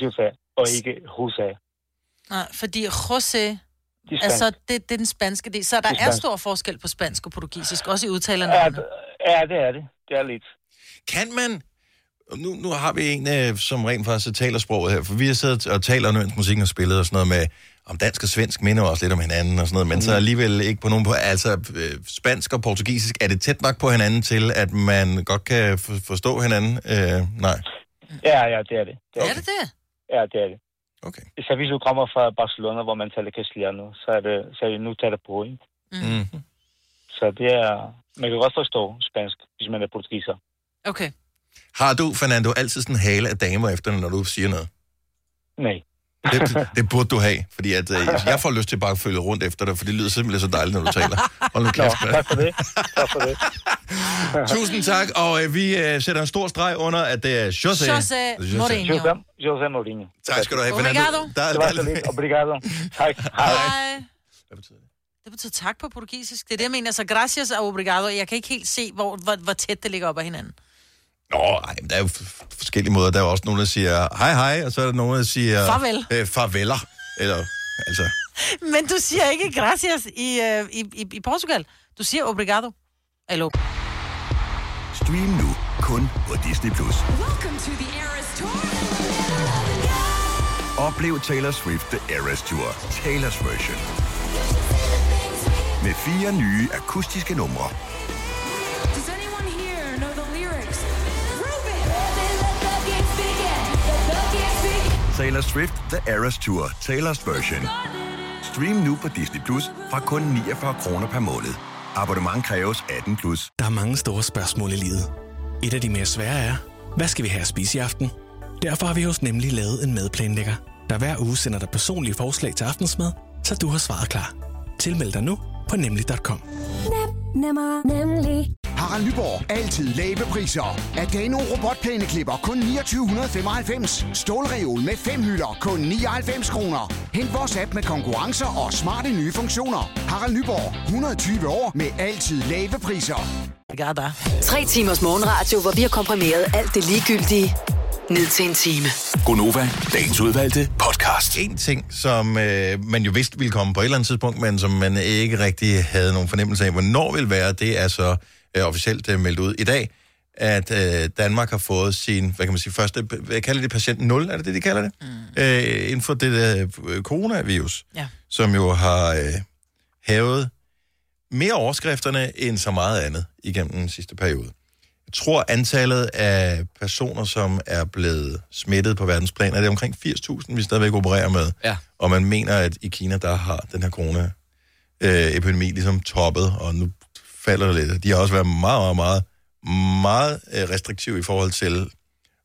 Speaker 12: José, og ikke José.
Speaker 2: Nej, fordi Jose Det
Speaker 12: er
Speaker 2: altså, det, det er den spanske del. Så der
Speaker 12: Det
Speaker 2: er,
Speaker 12: er
Speaker 2: er
Speaker 12: spansk.
Speaker 2: stor forskel på spansk og portugisisk, også i udtalerne.
Speaker 12: Ja, d- ja, det er det. Det er lidt.
Speaker 1: Kan man... Nu, nu har vi en, øh, som rent faktisk taler sproget her, for vi har siddet og talt om ønsk musikken og spillet og sådan noget med, om dansk og svensk minder også lidt om hinanden og sådan noget, men mm. så alligevel ikke på nogen på... Altså, øh, spansk og portugisisk, er det tæt nok på hinanden til, at man godt kan for, forstå hinanden? Øh, nej.
Speaker 12: Ja, ja, det er det. det
Speaker 2: er det det?
Speaker 12: Ja, det er det.
Speaker 1: Okay.
Speaker 12: Så hvis du kommer fra Barcelona, hvor man taler castellano, så er det, så er det nu taler på ikke?
Speaker 1: Mm.
Speaker 12: Så det er... Man kan godt forstå spansk, hvis man er portugiser.
Speaker 2: Okay.
Speaker 1: Har du, Fernando, altid sådan en hale af damer efter, når du siger noget?
Speaker 12: Nej.
Speaker 1: Det, det burde du have, fordi at, øh, jeg får lyst til bare at følge rundt efter dig, for det lyder simpelthen så dejligt, når du taler. Hold nu kæft, mand.
Speaker 12: tak for det. Tak for det.
Speaker 1: Tusind tak, og øh, vi øh, sætter en stor streg under, at det er Jose.
Speaker 2: José Mourinho.
Speaker 12: José, José Mourinho.
Speaker 1: Tak skal du have, Fernando.
Speaker 2: Obrigado.
Speaker 1: Der er,
Speaker 12: Det var så lidt. Obrigado. Tak. Hej.
Speaker 2: Hej. Det betyder tak på portugisisk. Det er det, jeg mener. Så gracias og obrigado. Jeg kan ikke helt se, hvor, hvor, hvor tæt det ligger op ad hinanden.
Speaker 1: Nå, ej, men der er jo f- forskellige måder. Der er jo også nogen, der siger hej hej, og så er der nogen, der siger...
Speaker 2: Farvel.
Speaker 1: Øh, farveler. Eller, altså...
Speaker 2: Men du siger ikke gracias i, øh, i, i, i Portugal. Du siger obrigado. Hallo.
Speaker 5: Stream nu kun på Disney+. Plus. Oplev Taylor Swift The Eras Tour, Taylor's version. Med fire nye akustiske numre.
Speaker 7: Does anyone here know the lyrics?
Speaker 5: Taylor Swift The Eras Tour, Taylor's version. Stream nu på Disney Plus fra kun 49 kroner per måned. Abonnement kræves 18 plus.
Speaker 13: Der er mange store spørgsmål i livet. Et af de mere svære er, hvad skal vi have at spise i aften? Derfor har vi hos Nemlig lavet en madplanlægger, der hver uge sender dig personlige forslag til aftensmad, så du har svaret klar. Tilmeld dig nu på nemlig.com.
Speaker 10: Nemmer, nemlig. Harald Nyborg. Altid lave priser. Adano robotplæneklipper kun 2995. Stålreol med fem hylder kun 99 kroner. Hent vores app med konkurrencer og smarte nye funktioner. Harald Nyborg. 120 år med altid lave priser.
Speaker 2: Obrigada.
Speaker 4: Tre timers morgenradio, hvor vi har komprimeret alt det ligegyldige ned til en time.
Speaker 1: Gonova, dagens udvalgte podcast. En ting, som øh, man jo vidste ville komme på et eller andet tidspunkt, men som man ikke rigtig havde nogen fornemmelse af, hvornår vil være, det er så øh, officielt øh, meldt ud i dag, at øh, Danmark har fået sin, hvad kan man sige, første, hvad kalder det, patient 0, er det det, de kalder det? Mm. Øh, inden for det der øh, coronavirus,
Speaker 2: Ja.
Speaker 1: som jo har øh, hævet mere overskrifterne end så meget andet igennem den sidste periode. Jeg tror, antallet af personer, som er blevet smittet på verdensplan, er det omkring 80.000, vi stadigvæk opererer med.
Speaker 3: Ja.
Speaker 1: Og man mener, at i Kina, der har den her corona-epidemi ligesom toppet, og nu falder det lidt. De har også været meget, meget, meget, meget øh, restriktive i forhold til,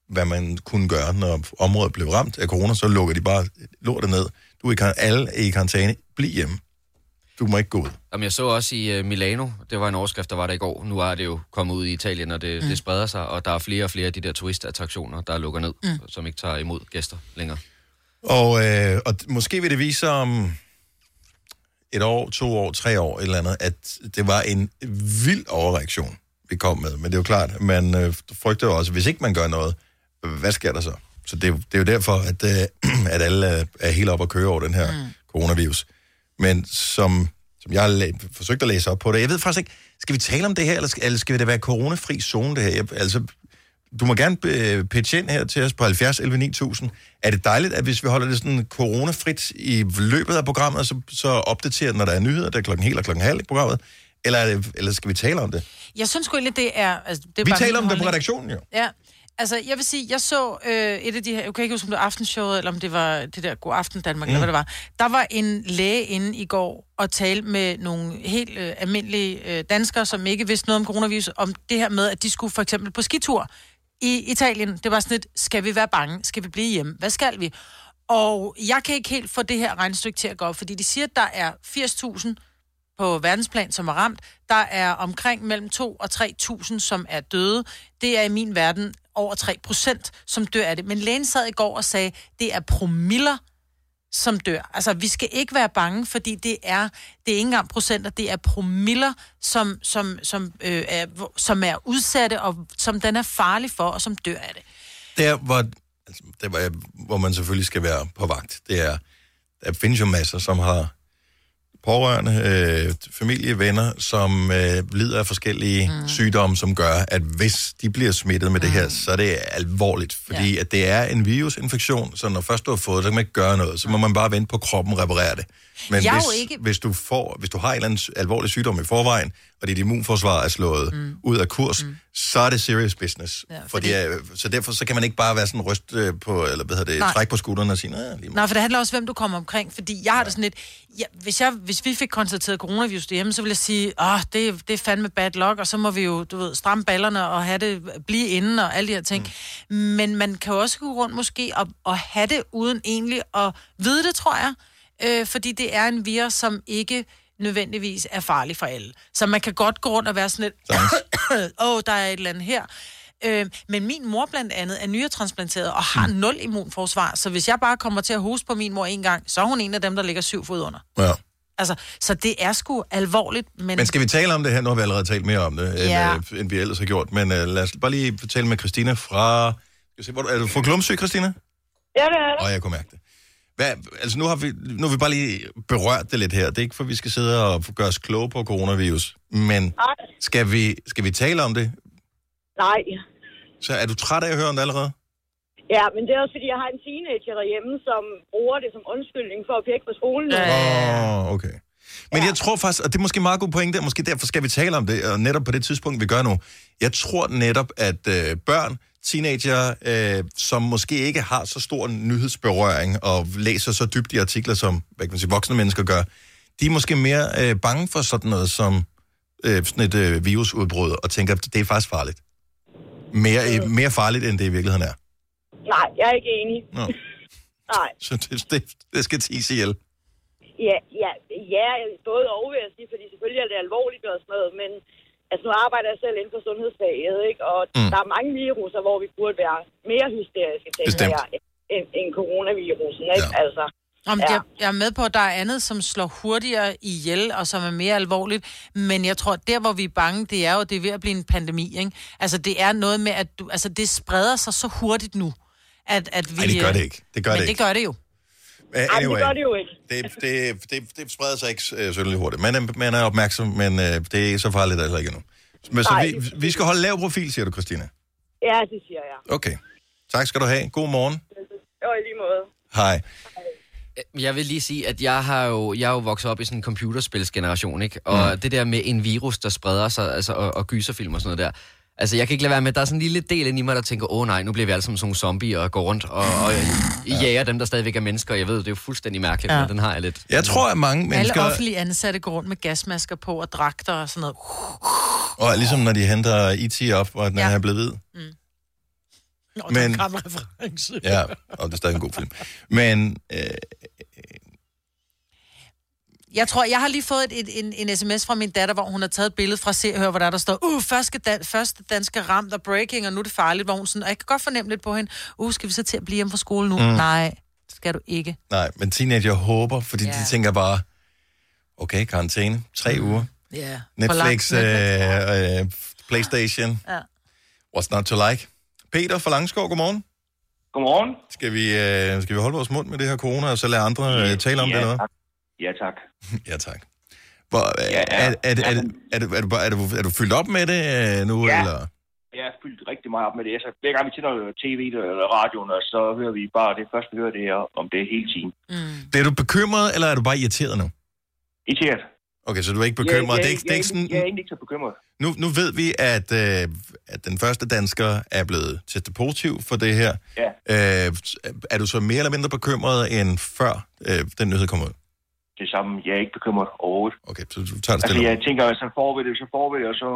Speaker 1: hvad man kunne gøre, når området blev ramt af corona, så lukker de bare lortet ned. Du er i, kar- alle er i karantæne. Bliv hjemme. Du må ikke gå ud.
Speaker 3: Jamen, jeg så også i øh, Milano, det var en overskrift, der var der i går. Nu er det jo kommet ud i Italien, og det,
Speaker 2: Mm.
Speaker 3: mm. det spreder sig, og der er flere og flere af de der turistattraktioner, der lukker ned,
Speaker 2: Mm.
Speaker 3: mm. som ikke tager imod gæster længere.
Speaker 1: Og, øh, og d- måske vil det vise sig om et år, to år, tre år, et eller andet, at det var en vild overreaktion, vi kom med. Men det er jo klart, man øh, frygter jo også, hvis ikke man gør noget, øh, hvad sker der så? Så det, er jo- det er jo derfor, at, øh, at alle er, er helt op at køre over den her mm. coronavirus. Men som, som jeg har la- forsøgt at læse op på det, jeg ved faktisk ikke, skal vi tale om det her, eller skal, eller skal det være coronafri zone, det her? Jeg, altså, du må gerne øh, pitche ind her til os på 70 11 9000. Er det dejligt, at hvis vi holder det sådan coronafrit i løbet af programmet, så, så opdaterer den, når der er nyheder, der er klokken helt og klokken halv i programmet? Eller, er det, eller skal vi tale om det?
Speaker 2: Jeg synes sgu egentlig, det er... Altså, det er
Speaker 1: vi
Speaker 2: bare
Speaker 1: taler
Speaker 2: min
Speaker 1: om det på
Speaker 2: holdning.
Speaker 1: redaktionen jo.
Speaker 2: Ja, altså jeg vil sige, jeg så øh, et af de her, jeg kan ikke huske, om det var aftenshowet, eller om det var det der God Aften Danmark, mm. eller
Speaker 15: Mm.
Speaker 2: hvad det var. Der var en læge inde i går og talte med nogle helt øh, almindelige øh, danskere, som ikke vidste noget om coronavirus, om det her med, at de skulle for eksempel på skitur i Italien. Det var sådan et, skal vi være bange? Skal vi blive hjemme? Hvad skal vi? Og jeg kan ikke helt få det her regnestykke til at gå op, fordi de siger, at der er 80.000 på verdensplan, som er ramt. Der er omkring mellem 2 og 3.000, som er døde. Det er i min verden over 3 procent, som dør af det. Men lægen sad i går og sagde, det er promiller, som dør. Altså, vi skal ikke være bange, fordi det er, det er ikke engang procenter, det er promiller, som, som, som, øh, er, hvor- som er udsatte, og som den er farlig for, og som dør af det.
Speaker 1: Der, hvor, altså, der hvor, jeg, hvor man selvfølgelig skal være på vagt, det er, der findes jo masser, som har pårørende, øh, familie, venner, som øh, lider af forskellige mm. sygdomme, som gør, at hvis de bliver smittet med mm. det her, så er det alvorligt. Fordi ja. at det er en virusinfektion, så når først du har fået det, så kan man ikke gøre noget. Så må man bare vente på, at kroppen reparerer det. Men
Speaker 2: Jeg er jo
Speaker 1: hvis,
Speaker 2: ikke-
Speaker 1: hvis, du får, hvis du har en eller anden s- alvorlig sygdom i forvejen, og dit immunforsvar er slået mm. ud af kurs, mm. så er det serious business. Ja,
Speaker 2: Ja,
Speaker 1: fordi... Fordi, øh, så derfor så kan man ikke bare være sådan ryst øh, på, eller hvad hedder det,
Speaker 2: Nej.
Speaker 1: træk på skulderen og sige, nej, lige
Speaker 2: Nej, for det handler også om, hvem du kommer omkring. Fordi jeg har det sådan lidt... Ja, hvis, jeg, hvis vi fik konstateret coronavirus derhjemme, så ville jeg sige, åh, det, det er fandme bad luck, og så må vi jo, du ved, stramme ballerne og have det, blive inde og alle de her ting. Mm. Men man kan jo også gå rundt måske og, og have det uden egentlig at vide det, tror jeg. Øh, fordi det er en virus, som ikke nødvendigvis er farlig for alle. Så man kan godt gå rundt og være sådan lidt, åh, oh, der er et eller andet her. Øh, men min mor blandt andet er nyretransplanteret og
Speaker 1: Hmm.
Speaker 2: har nul immunforsvar, så hvis jeg bare kommer til at hoste på min mor en gang, så er hun en af dem, der ligger syv fod under.
Speaker 1: Ja.
Speaker 2: Altså, så det er sgu alvorligt, men...
Speaker 1: Men skal vi tale om det her? Nu har vi allerede talt mere om det,
Speaker 2: Ja.
Speaker 1: end, øh, end vi ellers har gjort. Men øh, lad os bare lige tale med Christina fra... Skal vi se, hvor du, er du fra Glumsø, Christina?
Speaker 14: Ja, det er det.
Speaker 1: Og jeg kunne mærke det. Hvad, altså nu har, vi, nu har vi bare lige berørt det lidt her. Det er ikke for, vi skal sidde og gøre os kloge på coronavirus. Men
Speaker 14: Nej.
Speaker 1: skal vi, skal vi tale om det?
Speaker 14: Nej.
Speaker 1: Så er du træt af at høre om det allerede?
Speaker 14: Ja, men det er også fordi, jeg har en teenager derhjemme, som bruger det som undskyldning for at pjekke på skolen. Ja,
Speaker 1: Åh, oh, okay. Men jeg tror faktisk, og det er måske en meget god pointe, og måske derfor skal vi tale om det, og netop på det tidspunkt, vi gør nu. Jeg tror netop, at øh, børn, teenager, øh, som måske ikke har så stor en nyhedsberøring, og læser så dybt i artikler, som hvad kan man sige, voksne mennesker gør, de er måske mere øh, bange for sådan noget som øh, sådan et øh, virusudbrud, og tænker, at det er faktisk farligt. Mere, øh, mere farligt, end det i virkeligheden er.
Speaker 14: Nej, jeg er ikke enig.
Speaker 1: Nå.
Speaker 14: Nej.
Speaker 1: Så det, det, det skal tis ihjel.
Speaker 14: Ja, ja, ja, både og vil jeg sige, fordi selvfølgelig er det alvorligt og sådan noget, men altså nu arbejder jeg selv inden for sundhedsfaget, ikke? og
Speaker 1: Mm.
Speaker 14: mm. der er mange viruser, hvor vi burde være mere hysteriske, tænker
Speaker 2: Bestemt.
Speaker 14: jeg, end, end coronavirusen, ikke? Ja. Altså,
Speaker 2: Om ja. jeg, jeg er med på, at der er andet, som slår hurtigere ihjel, og som er mere alvorligt. Men jeg tror, der hvor vi er bange, det er jo, det er ved at blive en pandemi, ikke? Altså, det er noget med, at du, altså, det spreder sig så hurtigt nu, at, at vi... øh,
Speaker 1: Ej, det gør det ikke. Det gør
Speaker 2: men
Speaker 1: det
Speaker 2: det
Speaker 1: ikke.
Speaker 2: gør det jo.
Speaker 1: Uh,
Speaker 2: Ej, men det gør det jo
Speaker 14: ikke.
Speaker 1: Det, det, det, det spreder sig ikke øh, synderligt hurtigt. Man er, man er opmærksom, men øh, det er ikke så farligt altså ikke endnu. Men, så
Speaker 14: Nej.
Speaker 1: vi, vi skal holde lav profil, siger du, Christina.
Speaker 14: ja, det siger jeg.
Speaker 1: Okay. Tak skal du have. God morgen.
Speaker 14: Og i lige måde.
Speaker 1: Hej.
Speaker 3: Jeg vil lige sige, at jeg har jo, jeg er jo vokset op i sådan en computerspilsgeneration, ikke? Og mm. det der med en virus, der spreder sig, altså, og, og gyserfilm og sådan noget der. Altså, jeg kan ikke lade være med, at der er sådan en lille del inde i mig, der tænker, åh oh, nej, nu bliver vi alle sammen sådan nogle zombier og går rundt og, og ja. jager dem, der stadigvæk er mennesker. Jeg ved, det er jo fuldstændig mærkeligt,
Speaker 2: Ja.
Speaker 3: ja. men den har jeg lidt.
Speaker 1: Jeg tror, at mange mennesker...
Speaker 2: Alle offentlige ansatte går rundt med gasmasker på og dragter og sådan noget.
Speaker 1: Og ligesom når de henter IT op, og den ja. er blevet hvid.
Speaker 2: Nå,
Speaker 1: Men-
Speaker 2: men... det er en reference.
Speaker 1: Ja, og det er stadig en god film. Men øh,
Speaker 2: Jeg tror, jeg har lige fået et, et, en, en sms fra min datter, hvor hun har taget et billede fra Se og Hør, hvor der, der står, uh, første, dan- første danske ramt og breaking, og nu er det farligt, hvor hun sådan, og jeg kan godt fornemme lidt på hende, uh, skal vi så til at blive hjemme fra skole nu?
Speaker 1: Mm.
Speaker 2: Mm. Nej, det skal du ikke.
Speaker 1: nej, men teenager håber, fordi
Speaker 2: Ja. Mm.
Speaker 1: de tænker bare, okay, karantæne, tre uger,
Speaker 2: Ja.
Speaker 1: Netflix, øh, øh, Playstation,
Speaker 2: Ja.
Speaker 1: What's not to like? Peter fra Langskov, godmorgen.
Speaker 15: Godmorgen.
Speaker 1: Skal vi, øh, skal vi holde vores mund med det her corona, og så lade andre øh, tale om
Speaker 15: ja,
Speaker 1: det, eller
Speaker 15: tak. Ja, tak.
Speaker 1: ja, tak. Hvor, øh, ja, er, er, er, er, er, du- er, du, bare- er, du, er du fyldt op med det øh, nu,
Speaker 15: Ja.
Speaker 1: eller?
Speaker 15: Jeg har fyldt rigtig meget op med det. Altså, hver gang vi tænder tv eller radioen, og så hører vi bare det første, vi hører det her om det hele tiden.
Speaker 2: Mm.
Speaker 1: Er du bekymret, eller er du bare irriteret nu?
Speaker 15: Irriteret.
Speaker 1: Okay, så du er ikke
Speaker 15: Jeg,
Speaker 1: bekymret.
Speaker 15: jeg,
Speaker 1: det er ikke, det er ikke sådan,
Speaker 15: jeg, jeg er egentlig ikke så bekymret.
Speaker 1: nu, nu ved vi, at, øh, at den første dansker er blevet testet positiv for det her.
Speaker 15: Ja.
Speaker 1: Øh, er du så mere eller mindre bekymret, end før øh, den nyhed kom ud?
Speaker 15: Det samme. Jeg er ikke bekymret overhovedet.
Speaker 1: Okay, så du tager det
Speaker 15: Altså,
Speaker 1: stille.
Speaker 15: jeg tænker, at så får vi det, så får vi det, og så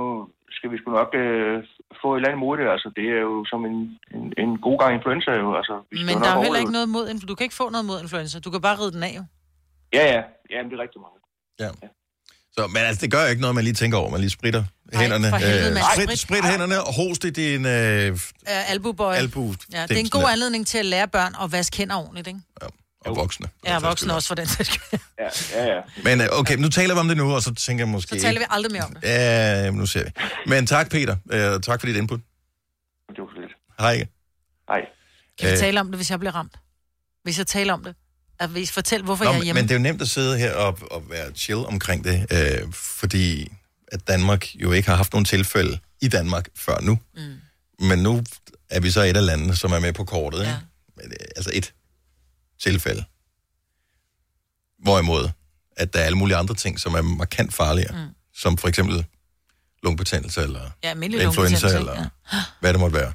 Speaker 15: skal vi sgu nok øh, få et eller andet mod det. Altså, det er jo som en, en, en god gang influenza, jo. Altså, vi skal
Speaker 2: Men
Speaker 15: jo
Speaker 2: der
Speaker 15: nok
Speaker 2: er jo heller
Speaker 15: overleve
Speaker 2: ikke
Speaker 15: det.
Speaker 2: noget mod, influ- du kan ikke få noget mod influenza, du kan bare ride den af jo.
Speaker 15: Ja, ja. Ja, men det er rigtig meget.
Speaker 1: Ja. Så, men altså, det gør jo ikke noget, man lige tænker over. Man lige spritter
Speaker 2: Nej,
Speaker 1: hænderne.
Speaker 2: for helvede,
Speaker 1: øh,
Speaker 2: mand.
Speaker 1: sprit,
Speaker 2: Sprit.
Speaker 1: sprit hænderne og host i din øh,
Speaker 2: Uh, albubøj.
Speaker 1: albu.
Speaker 2: Ja, det er en god anledning til at lære børn at vaske hænder ordentligt, ikke?
Speaker 1: Og voksne. Altså,
Speaker 2: Ja, voksne også for den sags skyld.
Speaker 15: Ja, ja, ja.
Speaker 1: Men øh, okay, nu taler vi om det nu, og så tænker jeg måske...
Speaker 2: Så taler vi aldrig mere om det.
Speaker 1: Ja, nu ser vi. Men tak, Peter. Øh, tak for dit input.
Speaker 15: Det var lidt.
Speaker 1: Hej.
Speaker 15: Hej.
Speaker 2: Kan vi tale om det, Altså, hvis jeg bliver ramt? Hvis jeg taler om det? at vis- fortæl, hvorfor
Speaker 1: Nå,
Speaker 2: jeg er
Speaker 1: men-
Speaker 2: hjemme.
Speaker 1: men det er jo nemt at sidde her og, og være chill omkring det, øh, fordi at Danmark jo ikke har haft nogen tilfælde i Danmark før nu. Mm. Men nu er vi så et af landene, som er med på kortet. Ja. Ikke? Men, øh, altså et tilfælde. Hvorimod, at der er alle mulige andre ting, som er markant farligere. Mm. Som for eksempel lungebetændelse eller
Speaker 2: Ja, almindelig
Speaker 1: influenza
Speaker 2: lungebetændelse,
Speaker 1: eller hvad det måtte være.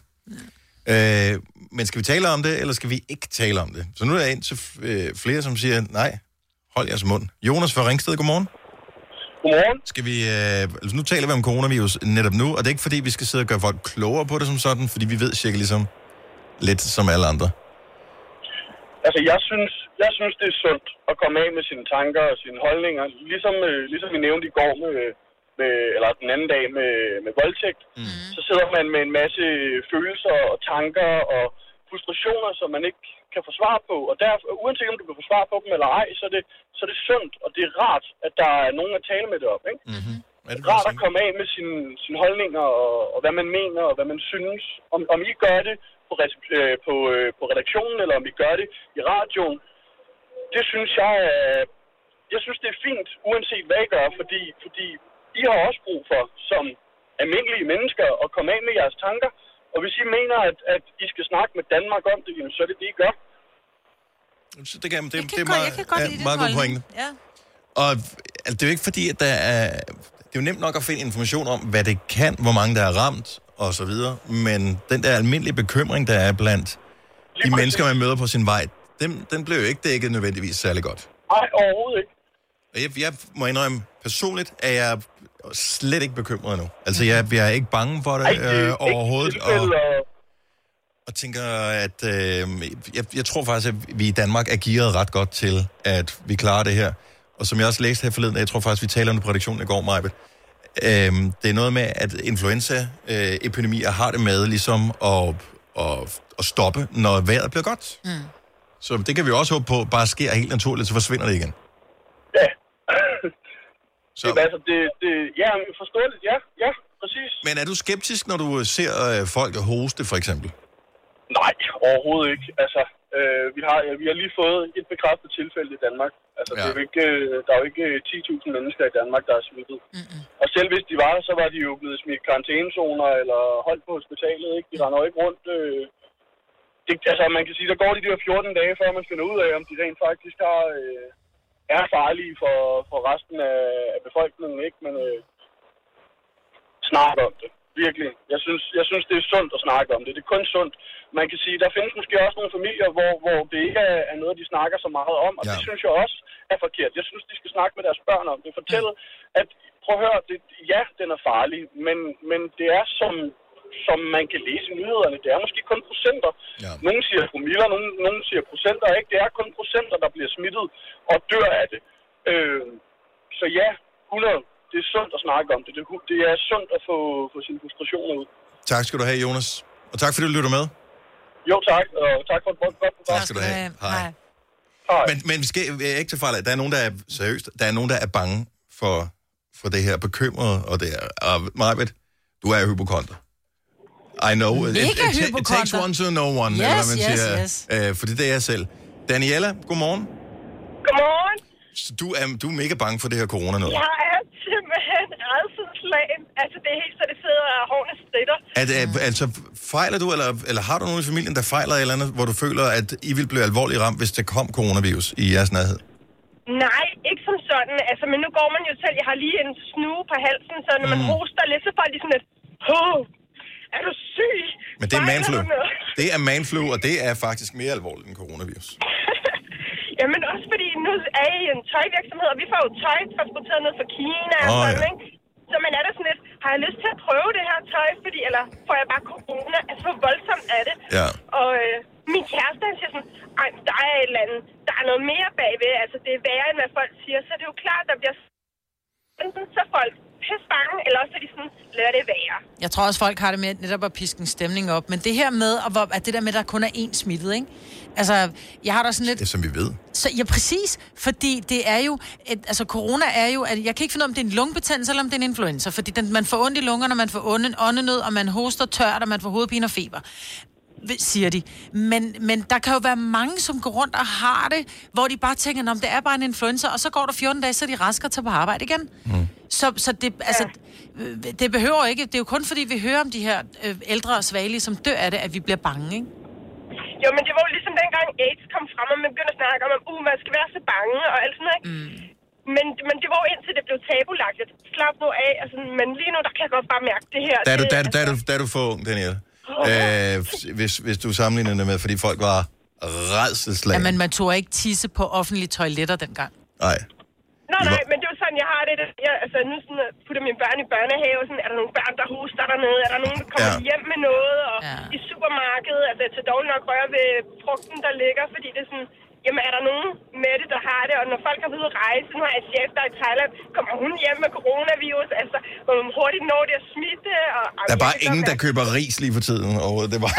Speaker 1: Øh, men skal vi tale om det, eller skal vi ikke tale om det? Så nu er der en til øh, flere, som siger, nej, hold jeres mund. Jonas fra Ringsted, godmorgen.
Speaker 12: Godmorgen.
Speaker 1: Skal vi, øh, altså nu taler vi om coronavirus netop nu, og det er ikke fordi, vi skal sidde og gøre folk klogere på det som sådan, fordi vi ved cirka ligesom lidt som alle andre.
Speaker 12: Altså, jeg synes, jeg synes, det er sundt at komme af med sine tanker og sine holdninger. Ligesom, øh, ligesom vi nævnte i går med, med, eller den anden dag med, med voldtægt, mm. så sidder man med en masse følelser og tanker og frustrationer, som man ikke kan få svar på. Og derfor, uanset om du kan få svar på dem eller ej, så er det, så er det sundt, og det er rart, at der er nogen at tale med det op. Ikke?
Speaker 1: Mm-hmm. Er
Speaker 12: det rart at komme af med sine, sine holdninger og, og hvad man mener og hvad man synes. Om, om I gør det på, recep- øh, på, øh, på redaktionen, eller om I gør det i radioen, det synes jeg er... Jeg synes, det er fint, uanset hvad I gør, fordi, fordi I har også brug for, som almindelige mennesker, at komme af med jeres tanker. Og hvis I mener, at, at I skal snakke med Danmark om det, jamen, så er det det, I gør.
Speaker 1: Så det, kan, det, det
Speaker 12: er meget, jeg kan godt
Speaker 1: ja,
Speaker 12: lide den
Speaker 1: meget god
Speaker 12: holdning.
Speaker 1: pointe.
Speaker 2: Ja.
Speaker 1: Og altså, det er jo ikke fordi, at der er... Det er jo nemt nok at finde information om, hvad det kan, hvor mange der er ramt, og så videre. Men den der almindelige bekymring, der er blandt de mennesker, man møder på sin vej, den, den blev jo ikke dækket nødvendigvis særlig godt.
Speaker 12: Nej, overhovedet ikke.
Speaker 1: Og jeg, jeg må indrømme, personligt er jeg slet ikke bekymret nu. Altså, jeg, jeg er ikke bange for det,
Speaker 12: Ej, det er
Speaker 1: øh,
Speaker 12: ikke
Speaker 1: overhovedet. Og,
Speaker 12: tilfælde,
Speaker 1: og tænker, at øh, jeg, jeg tror faktisk, at vi i Danmark er gearet ret godt til, at vi klarer det her. Og som jeg også læste her forleden, jeg tror faktisk, vi taler om det på redaktionen i går, Majbet. Øh, det er noget med, at influenzaepidemier har det med ligesom at, at, at stoppe, når vejret bliver godt.
Speaker 2: Mm.
Speaker 1: Så det kan vi også håbe på, bare sker helt naturligt, så forsvinder det igen.
Speaker 12: Ja.
Speaker 1: Så.
Speaker 12: Det, er altså, det, det, ja, men forståeligt, ja, ja, præcis.
Speaker 1: Men er du skeptisk, når du ser øh, folk hoste, for eksempel?
Speaker 12: Nej, overhovedet ikke. Altså, øh, vi, har, vi har lige fået et bekræftet tilfælde i Danmark. Altså, ja. det er jo ikke, øh, der er jo ikke øh, 10.000 mennesker i Danmark, der er smittet. Mm-mm. Og selv hvis de var, så var de jo blevet smidt i karantænezoner eller holdt på hospitalet. Ikke? De render jo ikke rundt. Øh, det, altså, man kan sige, der går de der 14 dage, før man finder ud af, om de rent faktisk har, øh, er farlige for, for resten af, af befolkningen. Ikke? Men øh, snak om det. Virkelig. Jeg synes, jeg synes, det er sundt at snakke om det. Det er kun sundt. Man kan sige, der findes måske også nogle familier, hvor, hvor det ikke er er noget, de snakker så meget om, og ja. det synes jeg også er forkert. Jeg synes, de skal snakke med deres børn om det. Fortælle, at prøv at høre, det, ja, den er farlig, men, men det er som, som man kan læse i nyhederne. Det er måske kun procenter. Ja. Nogle siger promiller, nogle, nogle siger procenter, ikke? Det er kun procenter, der bliver smittet og dør af det. Øh, så ja, 100. Det er sundt at snakke om det. Det, det er sundt at få, få sine frustrationer ud.
Speaker 1: Tak skal du have, Jonas. Og tak fordi du lytter med.
Speaker 12: Jo, tak. Og tak for et godt program.
Speaker 1: Tak skal du have. Hej. Men, men vi skal vi er ikke til fejl, at der er nogen, der er seriøst, der er nogen, der er bange for, for det her, bekymret, og det er, og Marvitt, du er hypokonter. I know. It,
Speaker 2: Mega
Speaker 1: it, it, it takes
Speaker 2: hypokonter.
Speaker 1: one to know one,
Speaker 2: Yes,
Speaker 1: eller hvad man
Speaker 2: yes,
Speaker 1: siger.
Speaker 2: yes.
Speaker 1: Øh, for det er jeg selv. Daniela, godmorgen.
Speaker 16: Godmorgen.
Speaker 1: Så du er, du er mega bange for det her corona noget.
Speaker 16: Jeg er simpelthen redselslagen. Altså, det er helt så, det sidder og hårene stritter.
Speaker 1: At, mm. altså, fejler du, eller, eller har du nogen i familien, der fejler et eller andet, hvor du føler, at I vil blive alvorligt ramt, hvis der kom coronavirus i jeres nærhed?
Speaker 16: Nej, ikke som sådan. Altså, men nu går man jo selv. Jeg har lige en snue på halsen, så når man
Speaker 1: Mm.
Speaker 16: hoster lidt, så får de sådan lidt... Åh, er du syg?
Speaker 1: Men det er
Speaker 16: Fejler
Speaker 1: manflu.
Speaker 16: du noget?"
Speaker 1: Det er manflu, og det er faktisk mere alvorligt end coronavirus.
Speaker 16: Jamen, også fordi nu er jeg i en tøjvirksomhed, og vi får jo tøj transporteret ned fra Kina og
Speaker 1: Åh,
Speaker 16: sådan,
Speaker 1: ja.
Speaker 16: ikke? Så man er der sådan lidt, har jeg lyst til at prøve det her tøj, fordi, eller får jeg bare corona? Altså, hvor voldsomt er det?
Speaker 1: Ja.
Speaker 16: Og øh, min kæreste, han siger sådan, ej, men der er et eller andet, der er noget mere bagved, altså det er værre, end hvad folk siger, så det er jo klart, der bliver enten så er folk pisse bange, eller også er de sådan, lad det være.
Speaker 2: Jeg tror også, folk har det med at netop at piske en stemning op. Men det her med, at, hvor- at det der med, at der kun er én smittet, ikke? Altså, jeg har da sådan lidt...
Speaker 1: Det er, som vi ved.
Speaker 2: Så, ja, præcis, fordi det er jo, et, altså corona er jo, at jeg kan ikke finde ud af, om det er en lungebetændelse, eller om det er en influenza, fordi den, man får ondt i lungerne, man får onde, åndenød, og man hoster tørt, og man får hovedpine og feber. vi- siger de. Men, men der kan jo være mange, som går rundt og har det, hvor de bare tænker, om det er bare en influenza, og så går der 14 dage, så er de raske og tager på arbejde igen. Mm. Så, så det, altså, ja. det behøver ikke, det er jo kun fordi, vi hører om de her øh, ældre og svagelige, som dør af det, at vi bliver bange, ikke?
Speaker 16: Jo, men det var jo ligesom dengang AIDS kom frem, og man begyndte at snakke om, at uh, man skal være så bange og alt sådan noget. ikke? Men, men det var jo indtil det blev tabulagt. at Slap nu af. Altså, men lige nu, der kan jeg godt bare mærke det her.
Speaker 1: Der er du,
Speaker 16: det,
Speaker 1: der, er du- der, er du, der er du for ung, Daniel. Øh, hvis, hvis du sammenligner det med, fordi folk var redselslag.
Speaker 2: Ja, men man tog ikke tisse på offentlige toiletter dengang.
Speaker 1: Nej.
Speaker 16: Nej, nej, men det er jo sådan, jeg har det. der- Jeg, altså, nu sådan, øh, putter mine børn i børnehave. Sådan, er der nogle børn, der hoster dernede? Er der nogen, der kommer
Speaker 1: Ja.
Speaker 16: ja. hjem med noget? Og ja. i supermarkedet, altså, til dog nok røre ved frugten, der ligger, fordi det er sådan... Jamen, er der nogen med det, der har det? Og når folk har ude at rejse, nu har jeg en chef, der er i Thailand, kommer hun hjem med coronavirus? Altså, hvor man hurtigt når det at smitte? Og,
Speaker 1: Der er bare ingen, der køber ris lige for tiden. Og det var...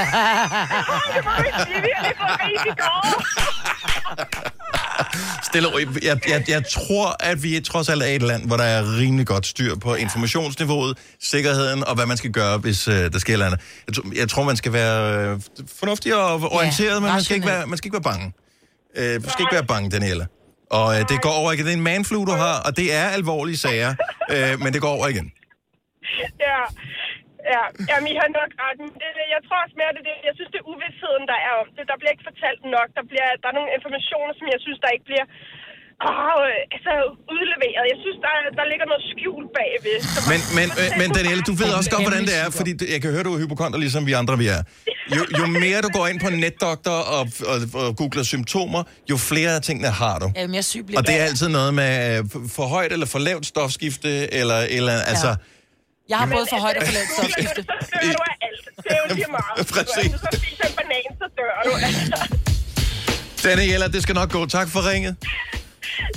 Speaker 1: Stille og roligt. jeg, jeg, jeg tror, at vi trods alt er et land, hvor der er rimelig godt styr på informationsniveauet, sikkerheden og hvad man skal gøre, hvis øh, der sker et eller andet. Jeg, tror- jeg tror, man skal være øh, fornuftig og orienteret, ja, men man skal, ikke være, man skal ikke være bange. Øh, du skal ikke være bange, Daniela. Og øh, det går over igen. Det er en manflu, du har, og det er alvorlige sager, øh, men det går over igen.
Speaker 16: Ja, ja. Jamen, I har nok ret. Men Det, det- jeg tror også mere, det, er det, jeg synes, det er uvidsheden, der er om det. Der bliver ikke fortalt nok. Der, bliver, der er nogle informationer, som jeg synes, der ikke bliver åh, øh, altså, udleveret. Jeg synes, der, der ligger noget skjult bagved. som-
Speaker 1: Men, men, øh, men Danielle, du ved også godt, hvordan det er, fordi det- jeg kan høre, du er hypokonter, ligesom vi andre vi er. Jo, jo mere du går ind på en netdoktor og, og, og googler symptomer, jo flere af tingene har du.
Speaker 2: Jamen, jeg er syg bliver
Speaker 1: Og det er
Speaker 2: jeg.
Speaker 1: altid noget med øh, for- for højt eller for lavt stofskifte, eller, eller ja. altså...
Speaker 2: Jeg har både for højt og for lavt stofskifte.
Speaker 16: Det er jo lige meget.
Speaker 1: Præcis.
Speaker 16: Du spiser en banan, så dør du.
Speaker 1: Daniela, det skal nok gå. Tak for ringet.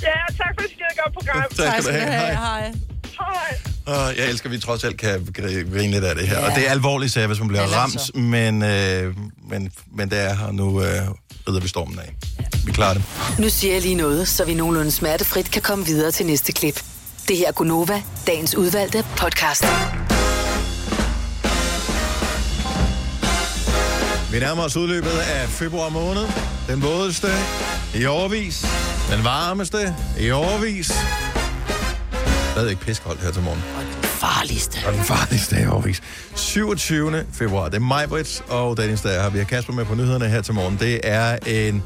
Speaker 16: ja, tak for et skide godt program.
Speaker 1: Tak skal du have. Hej.
Speaker 2: Hej.
Speaker 16: Hej.
Speaker 1: Og jeg elsker, at vi trods alt kan gr- grine lidt af det her.
Speaker 16: Ja.
Speaker 1: Og det er alvorligt, sager, hvis man bliver
Speaker 16: Eller
Speaker 1: ramt,
Speaker 16: så.
Speaker 1: men, altså. øh, men, men det er her, nu øh, rider vi stormen af. Vi klarer det.
Speaker 4: Nu siger jeg lige noget, så vi nogenlunde smertefrit kan komme videre til næste klip. Det her er Gunova, dagens udvalgte podcast.
Speaker 1: Vi nærmer os udløbet af februar måned. Den vådeste i overvis. Den varmeste i overvis. Stadig ikke piskoldt her til morgen. Og den farligste. Og den farligste i overvis. 27. februar. Det er Majbrits og Dennis, der er her. Vi har Kasper med på nyhederne her til morgen. Det er en...